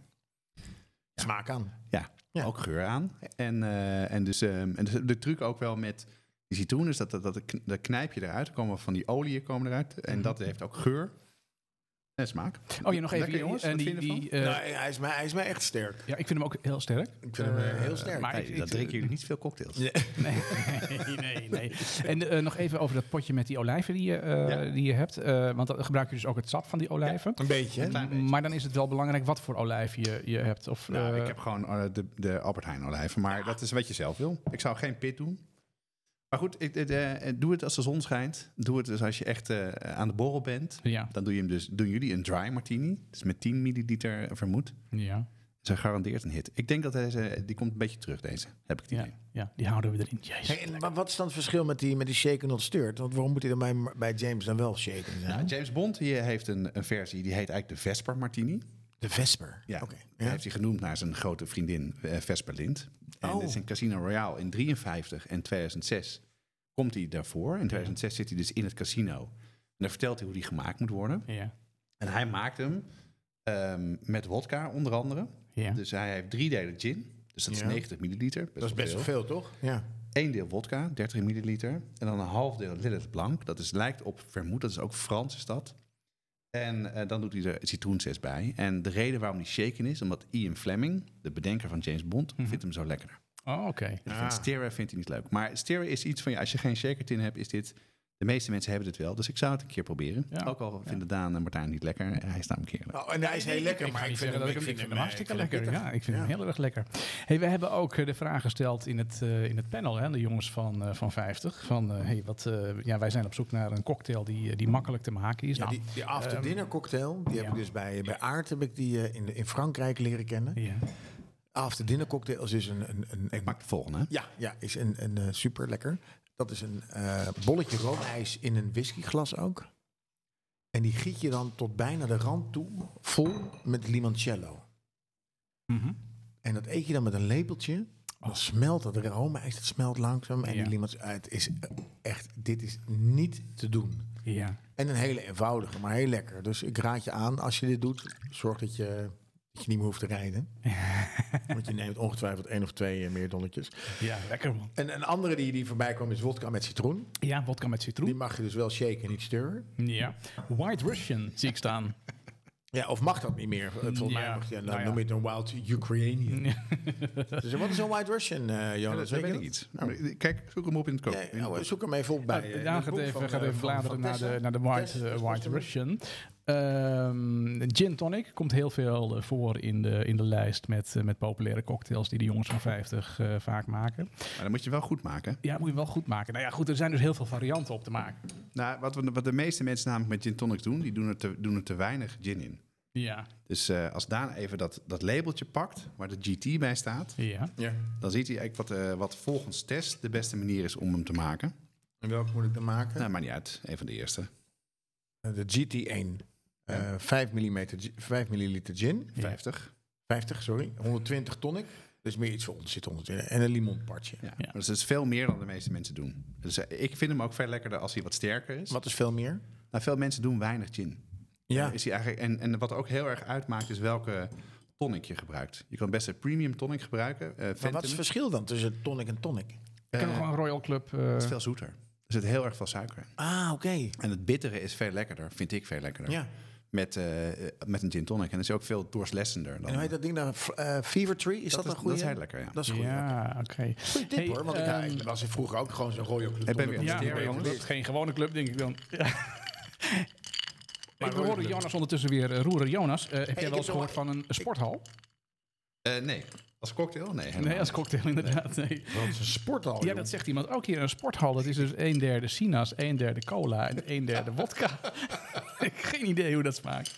Smaak aan. Ja, Ja. ook geur aan. En, eh, en, dus, ehm, en dus de truc ook wel met die citroen is dat, dat, dat, dat knijp je eruit. Er komen van die oliën komen eruit. En dat heeft ook geur en smaak. Oh, je nog even... Lekker, jongens. eh, Wat die- vind je ervan? die, eh, nou, hij, is mij, hij is mij echt sterk. Ja, ik vind hem ook heel sterk. Ik vind hem eh, heel sterk. maar Nee, ik- eh, dan ik- drinken jullie niet veel cocktails. Ja. Nee, nee, nee. En eh, nog even over dat potje met die olijven die je, eh, Ja. die je hebt. eh, want dan gebruik je dus ook het sap van die olijven. Een beetje. hè? klein beetje. Maar dan is het wel belangrijk wat voor olijf je, je hebt. Of, Nou, eh, ik heb gewoon eh, de, de Albert Heijn olijven. Maar dat is wat je zelf wil. Ik zou geen pit doen. Maar goed, ik, ik, eh, doe het als de zon schijnt. Doe het dus als je echt eh, aan de borrel bent. Ja, Dan doe je hem dus, doen jullie een dry martini. Dus met 10 milliliter vermoed. ja, Ze garandeert een hit. Ik denk dat deze, eh, die komt een beetje terug deze, heb ik het ja, idee. ja, die houden we erin. Jezus. Hey, en wa- wat is dan het verschil met die, met die shaken not stirred? Want waarom moet hij dan bij, bij James dan wel shaken zijn? Nou, James Bond hier heeft een, een versie, die heet eigenlijk de Vesper Martini. De Vesper. Ja, Oké. die Ja. heeft hij genoemd naar zijn grote vriendin eh, Vesper Lind. En Oh. dit is in Casino Royale in 53 en 2006 komt hij daarvoor. In 2006 zit hij dus in het casino. En dan vertelt hij hoe die gemaakt moet worden. Ja, En hij maakt hem ehm, met wodka onder andere. ja. Dus hij heeft drie delen gin. Dus dat Ja. is 90 milliliter. Best Dat is best wel veel, toch? Ja. Eén deel wodka, 30 milliliter. En dan een half deel Lillet Blanc. Dat is, lijkt op vermoed, dat is ook Frans is dat. En eh, dan doet hij er citroenzest bij. En de reden waarom die shaken is, omdat Ian Fleming, de bedenker van James Bond, Mhm. vindt hem zo lekkerder. Oh, oké. Ik vind Stera vindt hij niet leuk. Maar Stera is iets van, ja, als je geen shaker tin hebt, is dit... De meeste mensen hebben dit wel, dus ik zou het een keer proberen. Ja. Ook al vinden Daan en Martijn niet lekker, eh, hij is namelijk heerlijk. Nou, en hij is heel lekker, ga maar ik niet vind zeggen hem, dat ik vind hem hartstikke lekker. Ja, ik vind hem heel erg lekker. Hey, we hebben ook eh, de vraag gesteld in het, eh, in het panel, hè, de jongens van, eh, van 50. Van, eh, hey, wat, eh, ja, wij zijn op zoek naar een cocktail die, eh, die makkelijk te maken is. Ja, Nou, die, die after dinner cocktail, die heb ja. ik dus bij, bij Aard heb ik die, eh, in, in Frankrijk leren kennen. ja. After dinner cocktail is dus een, een, een, een- Maak de volgende. hè? ja, ja, is een, een eh, super lekker. Dat is een eh, bolletje roomijs in een whiskyglas ook. En die giet je dan tot bijna de rand toe, vol met limoncello. Mhm. En dat eet je dan met een lepeltje. Dan smelt dat roomijs, dat smelt langzaam. En Ja. die limons, eh, het is eh, echt, dit is niet te doen. ja. En een hele eenvoudige, maar heel lekker. Dus ik raad je aan, als je dit doet, zorg dat je, dat je niet meer hoeft te rijden. Want je neemt ongetwijfeld één of twee eh, meer donnetjes. ja, lekker man. En een andere die, die voorbij kwam is wodka met citroen. Ja, wodka met citroen. Die mag je dus wel shaken en niet stirren. Ja. White Russian zie ik staan. Ja, of mag dat niet meer? Eh, Volgens mij Ja, mag je, dan nou ja. noem je het een wild Ukrainian. Dus wat is een white Russian, eh Ja, Jonas? dat weet je ik niet. Maar Kijk, zoek hem op in het koken. Nee, nou, zoek hem even op bij. eh, in Daan het gaat boek even, van, gaat eh, van- even van bladeren naar Tessa. de, naar de White, Tess, eh, dat was white de- Russian. Ehm, gin tonic komt heel veel eh, voor in de, in de lijst met, eh, met populaire cocktails die de jongens van 50 eh, vaak maken. Maar dan moet je wel goed maken. hè? Ja, moet je wel goed maken. Nou ja, goed, er zijn dus heel veel varianten op te maken. Nou, wat, we, wat de meeste mensen namelijk met gin tonics doen, die doen er te, doen er te weinig gin in. Ja, Dus eh, als Daan even dat, dat labeltje pakt, waar de GT bij staat, ja. Ja. dan ziet hij eigenlijk wat, eh, wat volgens test de beste manier is om hem te maken. En welke moet ik dan maken? Nou, maakt niet uit. Een van de eerste. De GT1. eh 5, mm, 5 milliliter gin. 50. 50, sorry. 120 tonic. Dus meer iets voor ons zit 120. En een limonpartje. Ja. Maar Dus dat is veel meer dan de meeste mensen doen. Dus eh, ik vind hem ook veel lekkerder als hij wat sterker is. Wat is veel meer? Nou, veel mensen doen weinig gin. Ja. Is hij eigenlijk, en, en wat ook heel erg uitmaakt, is welke tonic je gebruikt. Je kan best een premium tonic gebruiken. eh Maar Phantom. wat is het verschil dan tussen tonic en tonic? We kunnen gewoon Royal Club... eh, Het is veel zoeter. Er zit heel erg veel suiker in. Ah, oké. En het bittere is veel lekkerder, vind ik veel lekkerder. Ja. met, eh, eh, met een gin tonic. En dat is ook veel doorslessender. Dan, En hoe heet dat ding nou? F- eh, Fever Tree? Is dat, is- een goede? dat is heel lekker, ja. Dat is een goede. ja. Ja, oké. Goeie tip Hey, hoor, want ik, ja, ehm, ik was vroeger ook gewoon zo'n rode club. Ik ben weer- Ja, Ja, maar jongens, dat is geen gewone club, denk ik dan. Ja. Maar ik Roer hoor Club. Jonas ondertussen weer. eh, Roeren Jonas, eh, heb jij heb wel eens nog- gehoord van een sporthal? Eh, nee, als cocktail? Nee, helemaal Nee, als cocktail inderdaad. Nee. Dat is een sporthal. Ja, dat zegt iemand ook hier. Een sporthal, dat is dus een derde sinaas, een derde cola en een derde wodka. Ik heb geen idee hoe dat smaakt.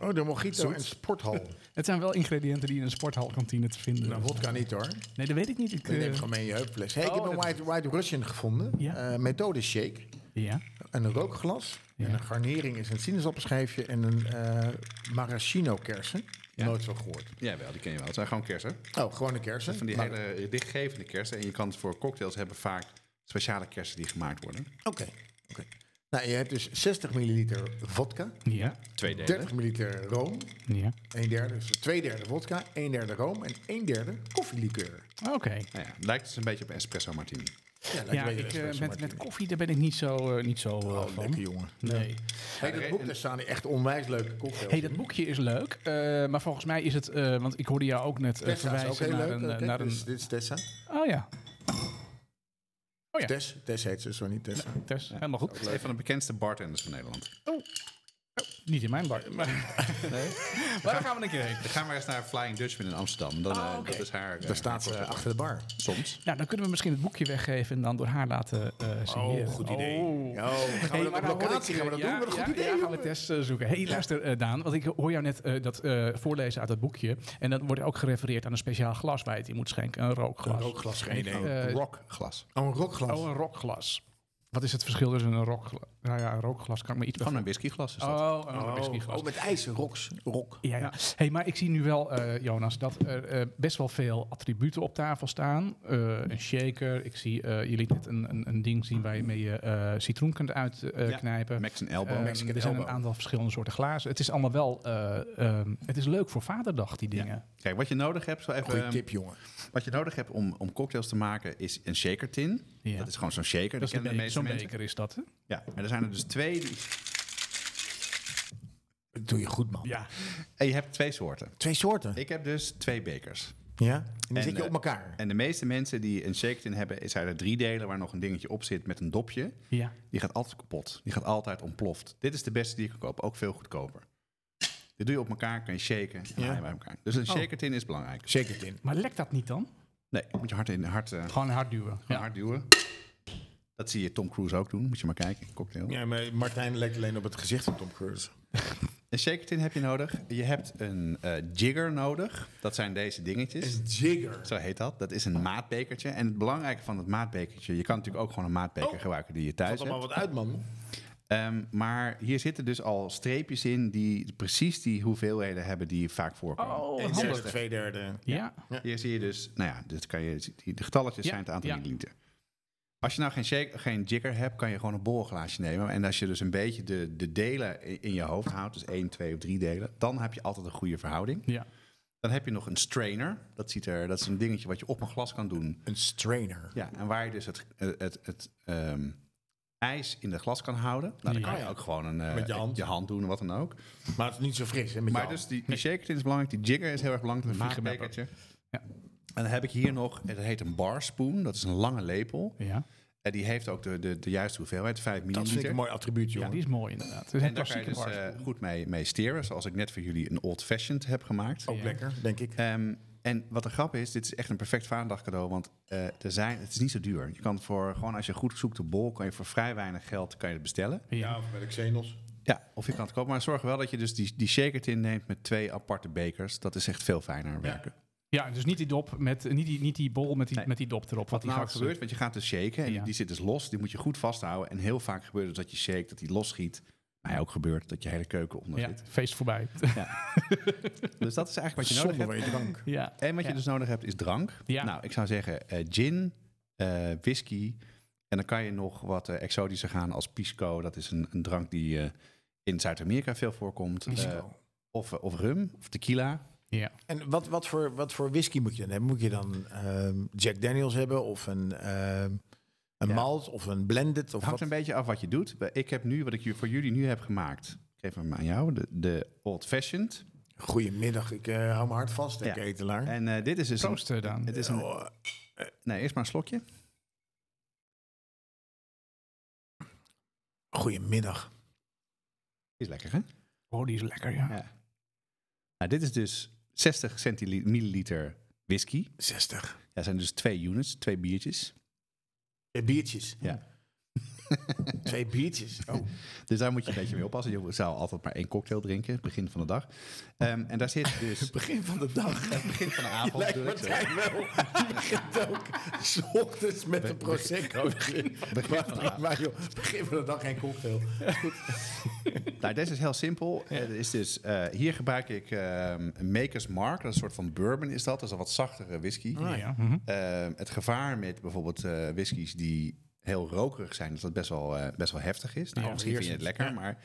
Oh, de mojito en sporthal. Het zijn wel ingrediënten die in een sporthalkantine te vinden Nou, vodka niet hoor. Nee, dat weet ik niet. Ik, Je eh, neemt gewoon mee in je heupfles. Hey, ik Oh, heb een dat- White, white Russian gevonden. Ja. Eh, methode shake. ja. Een rookglas. Ja. En een garnering is een sinaasappelschijfje en een eh maraschino kersen. Nooit zo gehoord. Ja, wel, die ken je wel. Het zijn gewoon kersen. Oh, gewoon een kersen. Van die Maar- hele eh, dichtgevende kersen. En je kan het voor cocktails hebben vaak speciale kersen die gemaakt worden. Oké. oké. Nou, je hebt dus 60 milliliter vodka, Ja. Twee delen. 30 milliliter room, Ja. 1 derde, dus 2 derde vodka, 1 derde room en 1 derde koffielikeur. Oké. Nou ja, lijkt dus een beetje op een espresso martini. Ja, Ja, ik, eh, met, met koffie daar ben ik niet zo, eh, niet zo eh, Oh, van. lekker jongen. Nee. Hey, dat boek, daar staan echt onwijs leuke cocktails Hey, dat boekje is leuk, eh, maar volgens mij is het, eh, want ik hoorde jou ook net eh, Tessa is ook verwijzen heel naar leuk. een, eh, oké, naar een. dus dit is Tessa. Oh ja, Ja. Tess, Tess heet ze, sorry niet Tessa. Tess, helemaal goed. Het is een van de bekendste bartenders van Nederland. Niet in mijn bar, maar, maar daar gaan we een keer heen. Dan gaan we eens naar Flying Dutchman in Amsterdam. Dan, eh, Dat is haar... eh, Oh, Daar staat ze eh, achter de bar. soms. Nou, dan kunnen we misschien het boekje weggeven en dan door haar laten eh signeren. Oh. Oh, gaan we Hey, maar dat nou op hoor locatie ik, gaan we dat eh, doen? Wat een ja, goed idee, Ja, gaan we jongen. Tess eh, zoeken. hey, luister eh, Daan, want ik hoor jou net eh, dat eh, voorlezen uit dat boekje. En dat wordt ook gerefereerd aan een speciaal glas waar je het in moet schenken. Een rookglas. Een rookglas, geen idee. eh, Rockglas. Oh, een rookglas. Oh, een rookglas. Wat is het verschil tussen een rookglas? Nou ja, een rookglas kan ik me iets bij Gewoon een whiskyglas is dat. Oh, een whiskyglas. Oh, met ijs, roks, rok. Ja, ja. Hey, maar ik zie nu wel, eh, Jonas, dat er eh, best wel veel attributen op tafel staan. Eh, een shaker. Ik zie, eh, je liet net een, een, een ding zien waarmee je eh, citroen kunt Ja. uitknijpen. Max en Elbow. Ehm, Eh, Mexican er zijn een elbow. aantal verschillende soorten glazen. Het is allemaal wel. eh, ehm, het is leuk voor Vaderdag, die dingen. Kijk, wat je nodig hebt, zo even, Goeie ehm, tip, jongen. wat je nodig hebt om, om cocktails te maken, is een shaker tin. Ja. Dat is gewoon zo'n shaker. Dat Dat is kennen de een be- meeste zo'n mensen. beker, is dat. Hè? Ja, en er zijn er dus twee. die- Dat doe je goed, man. Ja. En je hebt twee soorten. Twee soorten. Ik heb dus twee bekers. Ja? En die zit je eh, op elkaar. En de meeste mensen die een shaker tin hebben, zijn er drie delen waar nog een dingetje op zit met een dopje. ja. Die gaat altijd kapot. Die gaat altijd ontploft. Dit is de beste die je kan kopen. Ook veel goedkoper. Dit doe je op elkaar, kan je shaken. En haal je bij elkaar. Dus Oh. een shaker tin is belangrijk. Shake it in. Maar lekt dat niet dan? Nee, moet je hard in hard, eh, Gewoon hard duwen. Ja. hard duwen. Dat zie je Tom Cruise ook doen. Moet je maar kijken. Cocktail. Ja, maar Martijn lijkt alleen op het gezicht van Tom Cruise. Een shaker tin heb je nodig. Je hebt een eh, jigger nodig. Dat zijn deze dingetjes. Een jigger. Zo heet dat. Dat is een maatbekertje. En het belangrijke van het maatbekertje... je kan natuurlijk ook gewoon een maatbeker Oh, gebruiken die je thuis Valt hebt. allemaal wat uit, man. Ehm, maar hier zitten dus al streepjes in... die precies die hoeveelheden hebben die vaak voorkomen. Oh, Een wat handig. derde, twee derde. Ja. Hier zie je dus... Nou ja, dit kan je, die, de getalletjes Ja, zijn het aantal ja. milliliter. Als je nou geen, shake, geen jigger hebt, kan je gewoon een borrelglaasje nemen. En als je dus een beetje de, de delen i- in je hoofd houdt... dus één, twee of drie delen... dan heb je altijd een goede verhouding. ja. Dan heb je nog een strainer. Dat, ziet er, dat is een dingetje wat je op een glas kan doen. Een strainer. Ja, en waar je dus het, het, het, ehm, ijs in de glas kan houden. Nou, dan Ja. kan je Ah, ja. ook gewoon een, eh, Met je hand. doen, wat dan ook. Maar het is niet zo fris, hè? Met Maar jou. dus die, die shaker tin is belangrijk. Die jigger is heel erg belangrijk. Een maatbekertje. Ja. En dan heb ik hier nog, dat heet een barspoon. Dat is een lange lepel. ja. En die heeft ook de, de, de juiste hoeveelheid, 5 milliliter. Dat vind ik een mooi attribuut, Ja, jongen. die is mooi inderdaad. Het is een en daar kan je klassieke dus bar. eh, goed mee, mee steren. Zoals ik net voor jullie een old-fashioned heb gemaakt. Ook lekker, denk ik. Ehm, en wat de grap is, dit is echt een perfect vaderdag cadeau, want eh, er zijn, het is niet zo duur. Je kan voor, gewoon als je goed zoekt de bol, kan je voor vrij weinig geld kan je het bestellen. ja. of bij de Xenos. Ja, of je kan het kopen, maar zorg wel dat je dus die, die shaker tin neemt met twee aparte bekers. Dat is echt veel fijner werken. ja, dus niet die dop met niet die, niet die bol met die, Nee. met die dop erop. Wat, die Nou, gaat wat gebeurt, want je gaat dus shaken en Ja. die zit dus los. Die moet je goed vasthouden. En heel vaak gebeurt het dat je shake, dat die los schiet. Mij ook gebeurt dat je hele keuken onder Ja, zit. feest voorbij. Dus dat is eigenlijk wat je nodig Zonder hebt. weet drank. ja. En wat je Ja. dus nodig hebt is drank. Ja. Nou, ik zou zeggen eh, gin, eh, whisky. En dan kan je nog wat eh, exotischer gaan als pisco. Dat is een, een drank die eh, in Zuid-Amerika veel voorkomt. Eh, of, of rum, of tequila. ja. En wat, wat, voor, wat voor whisky moet je dan hebben? Moet je dan ehm, Jack Daniels hebben of een, ehm, een Ja. malt of een blended? Of Het hangt wat? een beetje af wat je doet. Ik heb nu, wat ik ju- voor jullie nu heb gemaakt... geef hem aan jou, de, de Old Fashioned. Goedemiddag, ik eh, hou me hard vast, hè, Ja. ketelaar. En eh, dit is dus... een- Proost eh, Daan. het is een, Eh, Oh, nee, eerst maar een slokje. goedemiddag. Is lekker, hè? Oh, die is lekker, ja. Ja. Nou, dit is dus 60 centili- milliliter whisky. 60. Ja, zijn dus twee units, twee biertjes. Twee Eh, biertjes. Ja. Twee biertjes. Oh. Dus daar moet je een beetje mee oppassen. Je zou altijd maar één cocktail drinken, begin van de dag. Ehm, en daar zit dus... Begin van de dag. begin van de Je avond. lijkt bedoel ik, sorry. Martijn wel. Die begint ook 's ochtends met een prosecco. Begin, Oh, begin van de maar, avond. maar joh, Ah, begin van de dag geen cocktail. Nou, deze is heel simpel. Eh, er is dus, eh, hier gebruik ik ehm, een Maker's Mark. Dat is een soort van bourbon is dat. Dat is een wat zachtere Oh, whisky. Ja, mhm. Ehm, het gevaar met bijvoorbeeld eh whiskies die heel rokerig zijn... is dat best wel, eh, best wel heftig is. Nou, Ja, misschien vind je het overheersend. lekker, maar...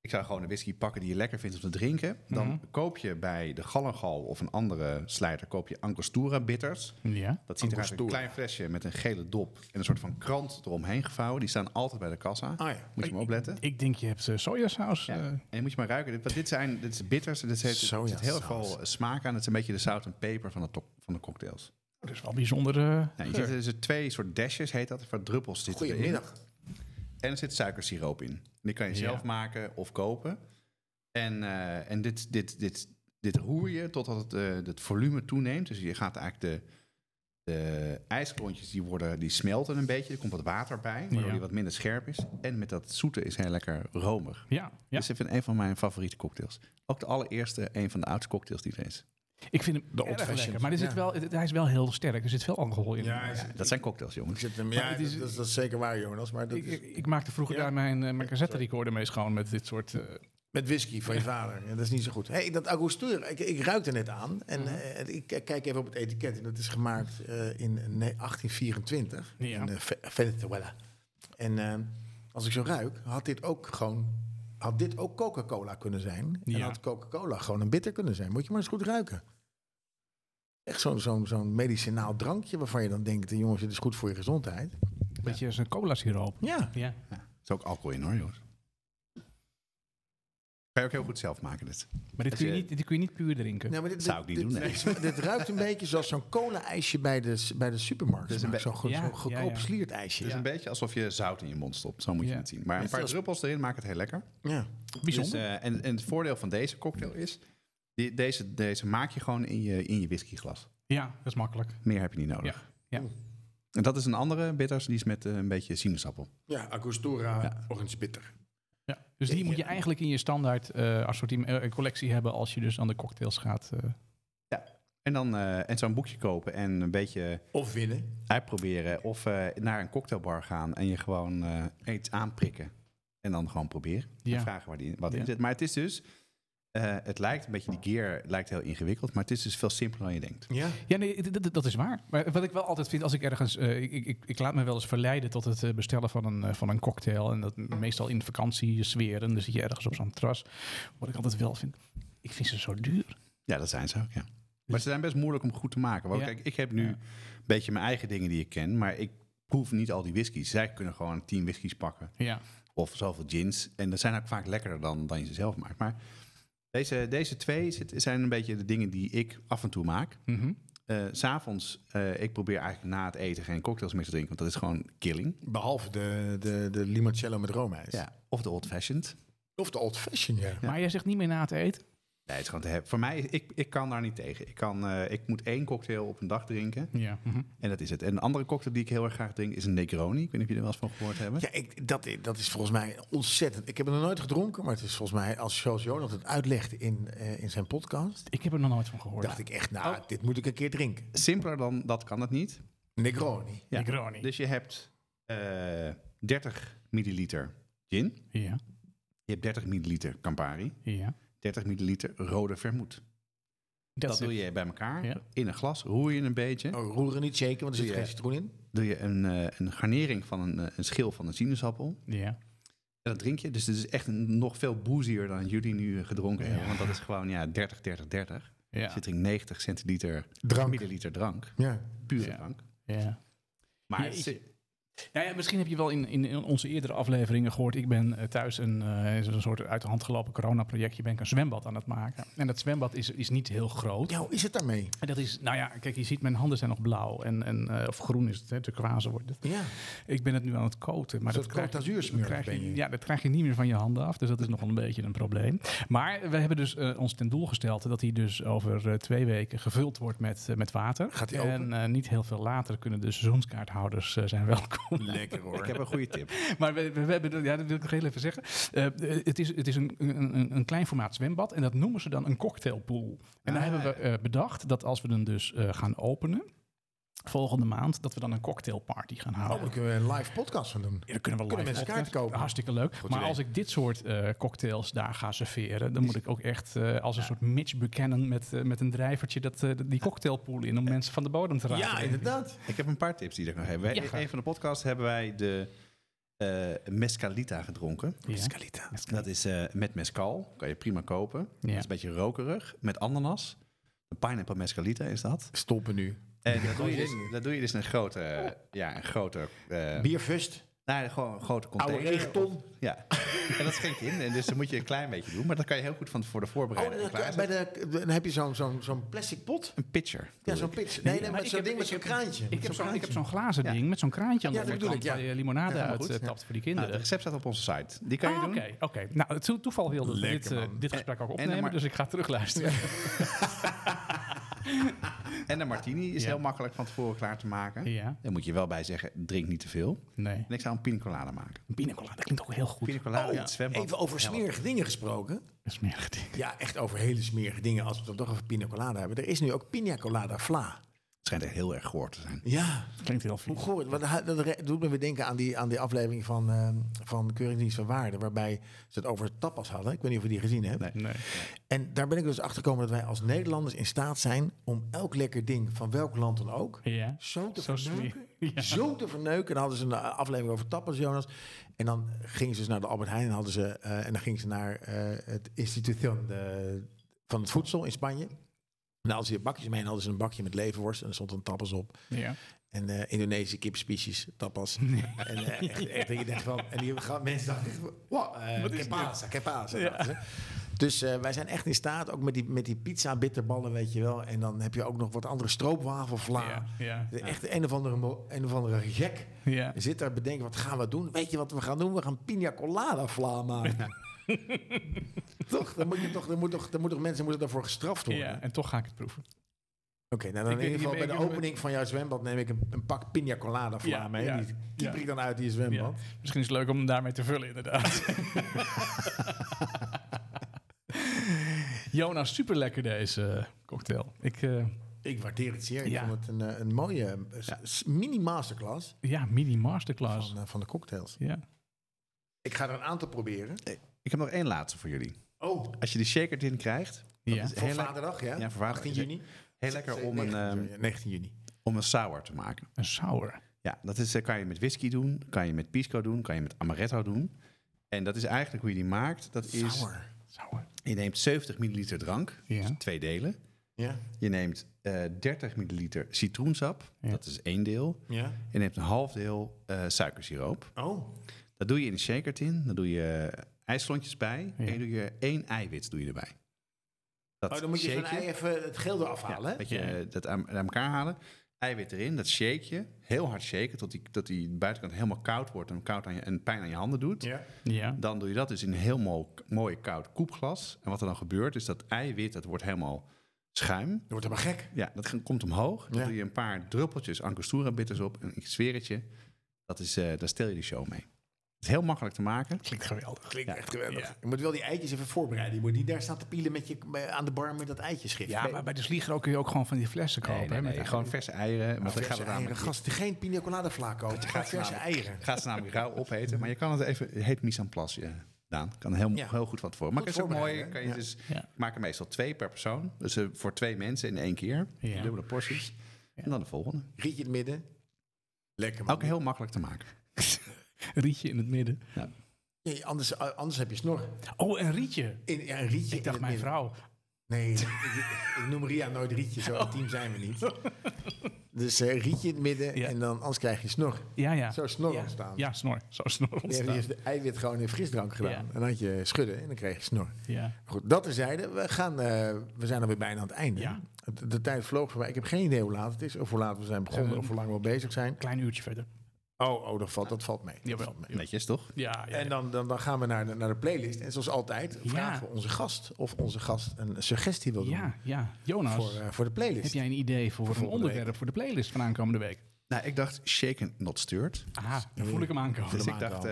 Ik zou gewoon een whisky pakken die je lekker vindt om te drinken. Dan Mhm. koop je bij de Gallengal of een andere slijter... koop je Angostura bitters. ja. Dat ziet eruit als een Angostura. klein flesje met een gele dop... en een soort van krant eromheen gevouwen. Die staan altijd bij de kassa. Ah ja. Moet je maar opletten. Ik denk je hebt eh, sojasaus. Ja. eh, en je moet je maar ruiken. Dit, want dit zijn dit is bitters. Dit heeft, er zit Sojasaus. heel veel smaak aan. Het is een beetje de zout en peper van de, to- van de cocktails. dat is wel bijzonder. eh, Nou, je geur. ziet, er zitten twee soort dashes, heet dat, van druppels zitten erin. Goedemiddag. En er zit suikersiroop in. Die kan je Ja. zelf maken of kopen. En, eh, en dit, dit, dit, dit roer je totdat het, eh, het volume toeneemt. Dus je gaat eigenlijk de, de ijsklontjes, die, worden, die smelten een beetje. Er komt wat water bij, waardoor Ja. die wat minder scherp is. En met dat zoete is hij lekker romig. Ja, ja. Dus ik vind een van mijn favoriete cocktails. Ook de allereerste, een van de oudste cocktails die er is. ik vind hem De erg old-fashioned. lekker. Maar er zit Ja. wel, het- hij is wel heel sterk. Er zit veel alcohol in. Ja, is- Dat zijn cocktails, jongens. ik zit hem, ja het is- dat, is, dat is zeker waar, Jonas. Maar dat Ik, is, ik, ik maakte vroeger Ja. daar mijn, eh, mijn cassette recorder mee schoon met dit soort... eh, met whisky van je vader. Ja, dat is niet zo goed. Hey, dat Angostura, ik, ik ruik er net aan. En Mhm. eh, ik k- kijk even op het etiket. En dat is gemaakt eh, in eh, nee, 1824 Ja. in eh, Ve- Venezuela. En eh, als ik zo ruik, had dit ook gewoon... Had dit ook Coca-Cola kunnen zijn. En Ja. had Coca-Cola gewoon een bitter kunnen zijn. Moet je maar eens goed ruiken. Echt zo'n zo'n zo'n medicinaal drankje waarvan je dan denkt... eh, jongens, dit is goed voor je gezondheid. beetje als een cola siroop. Ja, Ja. Er is ook alcohol in, hoor, jongens. Kan je ook heel goed zelf maken, dit. Maar dit kun, je niet, dit kun je niet puur drinken. Nee, Nou, maar dit, Zou dit- ik niet dit- doen, nee. Dit, dit ruikt een beetje zoals zo'n cola-ijsje bij de, s- bij de supermarkt. Dus een Maar be- zo'n goed- Ja, zo'n goedkoop ja, ja. sliert ijsje. Het is Ja. Dus een beetje alsof je zout in je mond stopt. Zo moet je Ja. het zien. Maar een Net paar zoals- druppels erin maken het heel lekker. Bijzonder. Dus, eh, en, en het voordeel van deze cocktail is... die- deze, deze maak je gewoon in je, in je whiskyglas. ja, dat is makkelijk. Meer heb je niet nodig. Ja. ja. En dat is een andere bitters. Die is met eh, een beetje sinaasappel. Ja, Angostura, orange bitter. Ja. Dus die Ja. moet je eigenlijk in je standaard eh, assortiment, eh, collectie hebben als je dus aan de cocktails gaat. eh. En dan eh, en zo'n boekje kopen en een beetje Of winnen. uitproberen. Of eh, naar een cocktailbar gaan en je gewoon eh iets aanprikken. En dan gewoon proberen. Ja. En vragen waar die, wat Ja. in zit. Maar het is dus... eh, het lijkt een beetje, die gear lijkt heel ingewikkeld. Maar het is dus veel simpeler dan je denkt. Ja. Ja, nee, d- d- dat is waar. Maar wat ik wel altijd vind als ik ergens. eh, ik, ik, ik laat me wel eens verleiden tot het eh, bestellen van een, eh, van een cocktail. En dat meestal in vakantiesfeer. En dan zit je ergens op zo'n terras. Wat ik altijd wel vind. Ik vind ze zo duur. Ja, dat zijn ze ook, ja. Maar ze zijn best moeilijk om goed te maken. Want Dus Ja. kijk, ik heb nu een beetje mijn eigen dingen die ik ken. Maar ik proef niet al die whiskies. Zij kunnen gewoon tien whiskies pakken. Ja. Of zoveel gins. En dat zijn ook vaak lekkerder dan, dan je ze zelf maakt. Maar deze, deze twee zit- zijn een beetje de dingen die ik af en toe maak. Eh, S S'avonds, eh ik probeer eigenlijk na het eten geen cocktails meer te drinken. Want dat is gewoon killing. Behalve de, de, de limoncello met roomijs. Of de old fashioned. Of de old fashion, ja. Maar jij zegt niet meer na het eten. Nee, het is gewoon te hebben. Voor mij, ik, ik kan daar niet tegen. Ik, kan, eh, ik moet één cocktail op een dag drinken. Ja. En dat is het. En een andere cocktail die ik heel erg graag drink is een Negroni. Ik weet niet of jullie er wel eens van gehoord hebben. Ja, ik, dat, i- dat is volgens mij ontzettend. Ik heb het nog nooit gedronken, maar het is volgens mij, als zoals Jonas het uitlegt in, eh, in zijn podcast, Ik heb er nog nooit van gehoord. dacht ik echt, nou, Oh. dit moet ik een keer drinken. Simpeler dan dat kan het niet. Negroni. Ja. Negroni. Dus je hebt eh 30 milliliter gin. Ja. Je hebt 30 milliliter Campari. Ja. 30 milliliter rode vermoed. Dat, Dat doe je bij elkaar. Ja. In een glas. Roer je een beetje. Oh, roeren niet shaken, want er zit Ja. geen citroen in. Doe je een, eh, een garnering van een, eh, een schil van een sinaasappel. Ja. En dat drink je. Dus het is echt een- nog veel boezier dan jullie nu eh, gedronken Ja. hebben. Want dat is gewoon ja, 30, 30, 30. Ja. Zit er in 90 centiliter Drank. milliliter drank. Ja. Pure Ja. drank. ja. Maar Jeetje. het, Nou ja, misschien heb je wel in, in, in onze eerdere afleveringen gehoord. Ik ben eh, thuis een, eh, zo'n soort uit de hand gelopen coronaprojectje. Ben ik een zwembad aan het maken. En dat zwembad is, is niet heel groot. Ja, hoe is het daarmee? En dat is, nou ja, kijk, je ziet mijn handen zijn nog blauw. En, en, eh, of groen is het, hè, turquoise wordt het. Ja. Ik ben het nu aan het koten. Een Maar dat soort krijg, Côte d'Azur dat smurf krijg ben je. Ja, dat krijg je niet meer van je handen af. Dus dat is nog een beetje een probleem. Maar we hebben dus eh, ons ten doel gesteld dat hij dus over eh, twee weken gevuld wordt met, eh, met water. Gaat die en open? eh, niet heel veel later kunnen de seizoenskaarthouders eh, zijn welkom. Lekker hoor. Ik heb een goede tip. Maar we, we- we hebben, dat- ja, dat wil ik nog heel even zeggen. Eh, eh, het is, het is een, een, een- een klein formaat zwembad en dat noemen ze dan een cocktailpool. En daar hebben we eh, bedacht dat als we hem dus eh, gaan openen, volgende maand, dat we dan een cocktailparty gaan houden. Oh, daar kunnen we een live podcast van doen. Ja, dan kunnen we Kunnen live mensen podcast. kaarten kopen? Hartstikke leuk. maar idee. als ik dit soort eh, cocktails daar ga serveren, dan moet ik ook echt eh, als een soort Mitch Buchanan met, eh, met een drijvertje dat, eh, die cocktailpool in om mensen van de bodem te raken. Ja, denk ik. inderdaad. Ik heb een paar tips die ik nog heb. Wij, Ja, graag. een van de podcasts hebben wij de eh mescalita gedronken. Ja. Mescalita. Dat is eh, met mezcal. Kan je prima kopen. Ja. Dat is een beetje rokerig. Met ananas. Een pineapple mescalita is dat. Stoppen nu. En dat doe, je kan dus, je niet. dat doe je dus in een grote... Ja, een grote... eh, Bierfust. nou, gewoon een grote Oude container. regenton. Ja. En dat schenk je in. En dus dan moet je een klein beetje doen. Maar dat kan je heel goed van tevoren Oh, voorbereiden. en dat- bij klaarzetten. de, dan heb je zo'n zo'n zo'n plastic pot. Een pitcher. Ja, zo'n pitch. Nee, maar nee, ik maar zo'n heb- ding met ik zo'n heb- kraantje. Ik heb zo'n ik heb kraantje. zo'n glazen Ja. ding met zo'n kraantje aan de Ja, dat overkant bedoel ik, waar ja. je limonade Ja, helemaal uit goed, eh, ja. tapt voor die Nou, kinderen. de recept staat op onze site. Die kan je Ah, Oké, doen. oké. Nou, het to- toeval wilde dat we dit, Lekker, eh, man. dit gesprek ook en opnemen, maar- dus ik ga terugluisteren. En de martini is Ja. heel makkelijk van tevoren klaar te maken. Ja. Daar moet je wel bij zeggen, drink niet te veel. Nee. En ik zou een pina colada maken. Pina colada, dat klinkt ook heel goed. Pina colada Oh, in het zwembad. Even over smerige dingen gesproken. Smerig ding. Ja, echt over hele smerige dingen. Als we het dan toch over pina colada hebben. Er is nu ook pina colada fla. Het schijnt echt heel erg goor te zijn. Ja, Klinkt heel hoe vies. goor. Want dat- Dat re- doet me weer denken aan die, aan die aflevering van, ehm van Keuringsdienst van Waarde. Waarbij ze het over tapas hadden. Ik weet niet of je die gezien hebt. Nee. Eh, En daar ben ik dus achter gekomen dat wij als Nederlanders in staat zijn om elk lekker ding van welk land dan ook Ja. zo te Zo verneuken. smerig. Ja. Zo te verneuken. En dan hadden ze een eh, aflevering over tapas, Jonas. En dan gingen ze dus naar de Albert Heijn en, hadden ze, eh, en dan gingen ze naar eh, het instituut van, de- van het voedsel in Spanje. En als ze bakjes mee hadden ze een bakje met leverworst en er stond een tapas op. Ja. En eh Indonesische kipspecies, tapas. En eh, echt, echt, dat je denkt van... En die gaan- mensen dachten echt, wow, eh, Wat is que dit? pasa, que pasa, Ja. dachten ze. Dus eh, wij zijn echt in staat, ook met die, met die pizza bitterballen, weet je wel. En dan heb je ook nog wat andere stroopwafelvla. Ja, ja. De- Echt een of andere, mo- een of andere gek Ja. zit daar bedenken, wat gaan we doen? Weet je wat we gaan doen? We gaan pina colada vla maken. toch, dan moet je toch, dan moet toch, dan moet toch mensen moeten daarvoor gestraft worden. ja, en toch ga ik het proeven. Oké, nou dan Ik- in ieder ik- geval ik- bij de ik- opening van jouw zwembad neem ik een, een pak pina colada vla Ja, mee. ja, die ja. kiep ik dan uit die zwembad. Ja. Misschien is het leuk om hem daarmee te vullen, inderdaad. Jonas, super lekker deze cocktail. Ik, eh, Ik waardeer het zeer. Ik Ja. vond het een, eh, een mooie eh, s- s- mini masterclass ja, mini masterclass. van, eh, van de cocktails. Ja. Ik ga er een aantal proberen. Ik heb nog één laatste voor jullie. Oh, Als je de shaker tin krijgt, dat Ja. is voor heel, le- vaderdag, ja? Ja, voor vaderdag. 18 juni. heel lekker om een, 19 ehm juni. 19 juni. om een sour te maken. Een sour. Ja, dat is, eh, kan je met whisky doen, kan je met pisco doen, kan je met amaretto doen. En dat is eigenlijk hoe je die maakt. Dat is, Sour. Sour. je neemt 70 milliliter drank, Ja. dus twee delen. Ja, Je neemt eh 30 milliliter citroensap, Ja. dat is één deel. ja. Je neemt een half deel eh, suikersiroop. Oh, Dat doe je in een shaker tin. Daar doe je eh, ijslontjes bij. En je doe je één eiwit doe je erbij. Dat oh dan moet je zo'n shake ei even het geel eraf halen. hè? Dat je eh, dat aan, aan elkaar halen. Eiwit erin, dat shake je. Heel hard shaken tot die, tot die buitenkant helemaal koud wordt... en, koud aan je, en pijn aan je handen doet. Ja. Ja. Dan doe je dat dus in een heel mooi, mooi koud koepglas. En wat er dan gebeurt is dat eiwit, dat wordt helemaal schuim. Je wordt helemaal gek. Ja, dat ge- komt omhoog. Dan Ja. doe je een paar druppeltjes Angostura bitters op. En ik zweer het je, dat is, eh, daar stel je de show mee. Het is heel makkelijk te maken. Klinkt geweldig. Klinkt echt geweldig. Je moet wel die eitjes even voorbereiden. Je moet niet daar staan te pielen met je, bij- aan de bar met dat eitjeschift. Ja, maar bij de slieger kun je ook gewoon van die flessen kopen. Nee, nee, hè, nee, met gewoon verse eieren. Want dan verse gaat het eieren. namelijk, Gast, geen pina colada vlak kopen. Gaat verse eieren. gaat ze namelijk rauw opeten. Maar je kan het even, het heet mise en place, eh, Daan. Kan heel, Ja. heel goed van tevoren. Maar Goed het is ook mooi. voorbereiden, Kan je ja. dus, Ja. Ik maak er meestal twee per persoon. Dus eh, voor twee mensen in één keer. Ja. Dubbele porties. En dan de volgende. Rietje in het midden. Lekker man. Ook heel makkelijk te maken. Rietje in het midden. Nee, anders, eh, anders heb je snor. Oh, een rietje. In, ja, een rietje Ik dacht in het mijn midden. vrouw. Nee, ik, ik noem Ria nooit rietje. Zo intiem zijn we niet. Dus eh, rietje in het midden Ja. en dan anders krijg je snor. Ja, ja. Zo snor ja. ontstaan. Ja, snor. Zo snor Die hebben ontstaan. eerst de eiwit gewoon in frisdrank gedaan. Ja. En dan had je schudden en dan kreeg je snor. Ja. Goed, dat terzijde. We, gaan, eh, we zijn alweer bijna aan het einde. Ja. De, de tijd vloog voorbij. Ik heb geen idee hoe laat het is. Of hoe laat we zijn begonnen. Eh, of hoe lang we bezig zijn. Klein uurtje verder. Ehm. Oh, oh dat, valt, dat valt mee. Dat Jawel. valt mee. Netjes, toch? Ja, ja, En ja. dan, dan, dan gaan we naar de, naar de playlist. En zoals altijd Ja. vragen we onze gast of onze gast een suggestie wil doen ja, ja. Jonas, voor, eh, voor de playlist. heb jij een idee voor, een volgende onderwerp voor de playlist van aankomende week? Nou, ik dacht shaken, not stirred. Aha, dan voel ik hem aankomen. Dus ik dacht eh,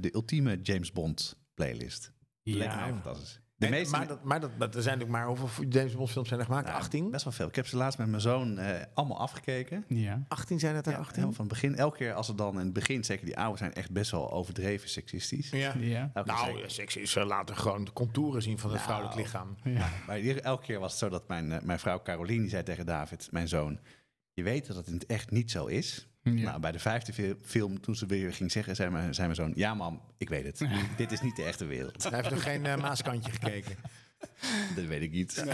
de ultieme James Bond playlist. Ja. Leek mij Ja, fantastisch. De En- meeste... Maar, dat, maar dat, dat, er zijn natuurlijk maar hoeveel James Bond films zijn er gemaakt? Nou, 18? Best wel veel. Ik heb ze laatst met mijn zoon eh, allemaal afgekeken. ja. 18 zijn dat er? Ja, 18? helemaal van het begin. Elke keer als ze dan in het begin, zeker die oude zijn, echt best wel overdreven seksistisch. Ja. ja. Elke keer Nou, zei- ja, seks is eh, laten gewoon de contouren zien van het vrouwelijk lichaam. ja. Maar hier- elke keer was het zo dat mijn, eh, mijn vrouw Caroline die zei tegen David, mijn zoon, je weet dat het in het echt niet zo is. Nou, bij de vijfde fil- film, toen ze weer ging zeggen, zei mijn, zei mijn zoon, ja mam, ik weet het. Dit is niet de echte wereld. Hij heeft nog geen eh, maaskantje gekeken. Dat weet ik niet.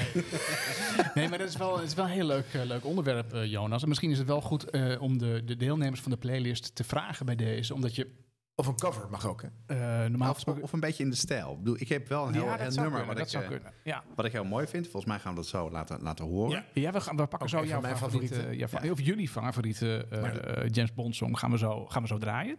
Nee, maar dat is wel, dat is wel een heel leuk, eh, leuk onderwerp, eh, Jonas. En misschien is het wel goed eh, om de, de deelnemers van de playlist te vragen bij deze. Omdat je Of een cover mag ook, hè? eh, normaal Of, gesproken... of een beetje in de stijl. Ik, bedoel, ik heb wel een heel Ja, een dat zou nummer kunnen, wat, dat ik, zou eh, kunnen. Ja, wat ik heel mooi vind. Volgens mij gaan we dat zo laten, laten horen. Ja. ja we, gaan, we pakken zo een jouw van mijn favoriete... favorieten. ja, van- Of jullie favoriete eh, eh, James Bond song gaan we zo, gaan we zo draaien.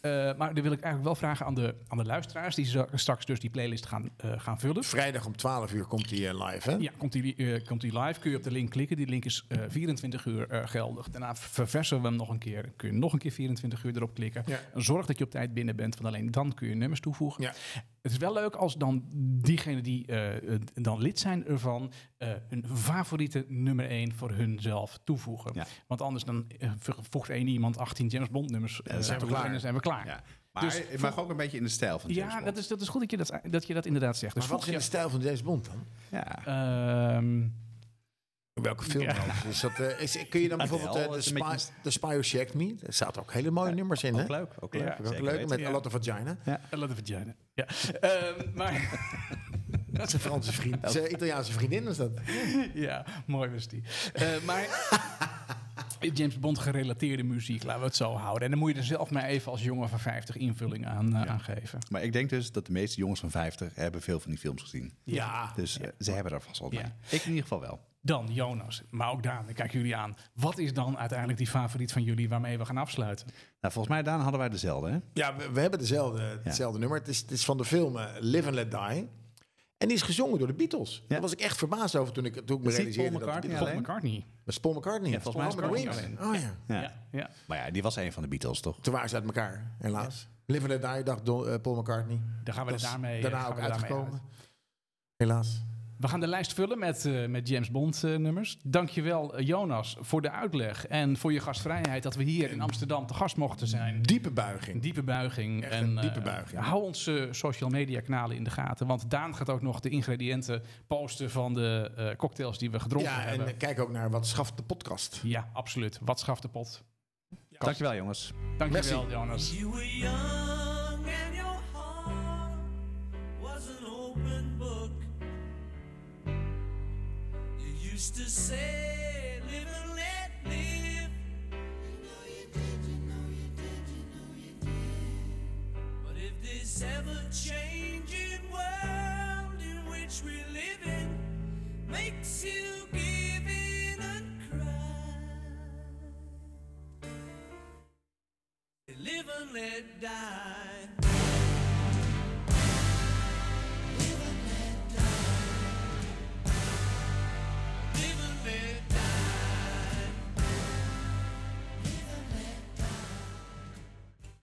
Eh, maar dan wil ik eigenlijk wel vragen aan de, aan de luisteraars... die zo- straks dus die playlist gaan, eh, gaan vullen. Vrijdag om 12 uur komt hij eh, live, hè? Ja, komt die, eh, komt die live, kun je op de link klikken. Die link is eh, 24 uur eh, geldig. Daarna verversen we hem nog een keer. Kun je nog een keer 24 uur erop klikken. Ja. Zorg dat je op tijd binnen bent, want alleen dan kun je nummers toevoegen. Ja. Het is wel leuk als dan diegenen die eh, eh, dan lid zijn ervan... eh, hun favoriete nummer 1 voor hunzelf toevoegen. Ja. Want anders dan eh, voegt één iemand 18 James Bond nummers eh, zijn we toe klaar. en dan zijn we klaar. Ja. Ja. Maar Dus het mag ook een beetje in de stijl van James Bond. dat is, dat is goed dat je dat, dat je dat inderdaad zegt. Dus Maar wat is in de volgens stijl van James Bond dan? Ja. jou- Ehm, Welke film Ja. dan? Dus dat, eh, is, kun je dan Adele bijvoorbeeld eh, de, is spy, een beetje- de Spy Who Shagged Me? Daar zaten ook hele mooie nummers in, hè? Ook leuk, ook leuk. Ja, Zeker Ook leuk, weten. met Ja. A Lot of Vagina. A lot of vagina. Ja. Ehm, maar Dat is een Franse vriend. Dat is een Italiaanse vriendin, is dat? ja, mooi was die. Eh, maar James Bond gerelateerde muziek, laten we het zo houden. En dan moet je er zelf maar even als jongen van 50 invulling aan, eh, aan geven. Maar ik denk dus dat de meeste jongens van 50 hebben veel van die films gezien. Ja. Dus eh, ze hebben daar vast wel mee. Ja. Ik in ieder geval wel. Dan Jonas, maar ook Daan, ik kijk jullie aan. Wat is dan uiteindelijk die favoriet van jullie waarmee we gaan afsluiten? Nou, volgens mij, Daan, hadden wij dezelfde, hè? Ja, we, we hebben dezelfde, hetzelfde nummer. Het is, het is van de film eh, Live and Let Die. En die is gezongen door de Beatles. Daar was ik echt verbaasd over toen ik, toen ik me Is die Paul realiseerde. dat de McCartney Beatles- Paul McCartney. Met Paul McCartney. Ja, volgens mij Paul is and the Paul Wings. Oh ja. Ja. Ja, ja. Maar ja, die was een van de Beatles, toch? Toen waren ze uit elkaar, helaas. Live and Let Die, dacht Don- eh, Paul McCartney. Dan gaan we Dat er is daarmee eh, daarna gaan ook we daarmee uitgekomen. uit. Helaas. We gaan de lijst vullen met, eh, met James Bond eh, nummers. Dankjewel eh, Jonas voor de uitleg en voor je gastvrijheid dat we hier in Amsterdam te gast mochten zijn. Diepe buiging. Diepe buiging. Echt een eh, diepe buiging. hou onze social media kanalen in de gaten. Want Daan gaat ook nog de ingrediënten posten van de eh, cocktails die we gedronken ja, en hebben. eh, kijk ook naar Wat Schaft de Podcast. ja, absoluut. Wat schaft de pot? Dankjewel, jongens. Dankjewel, Jonas. You were young and your heart was an open book. You used to say, live and let live. But if this ever changing world in which we live in makes you give in and cry. live and let die.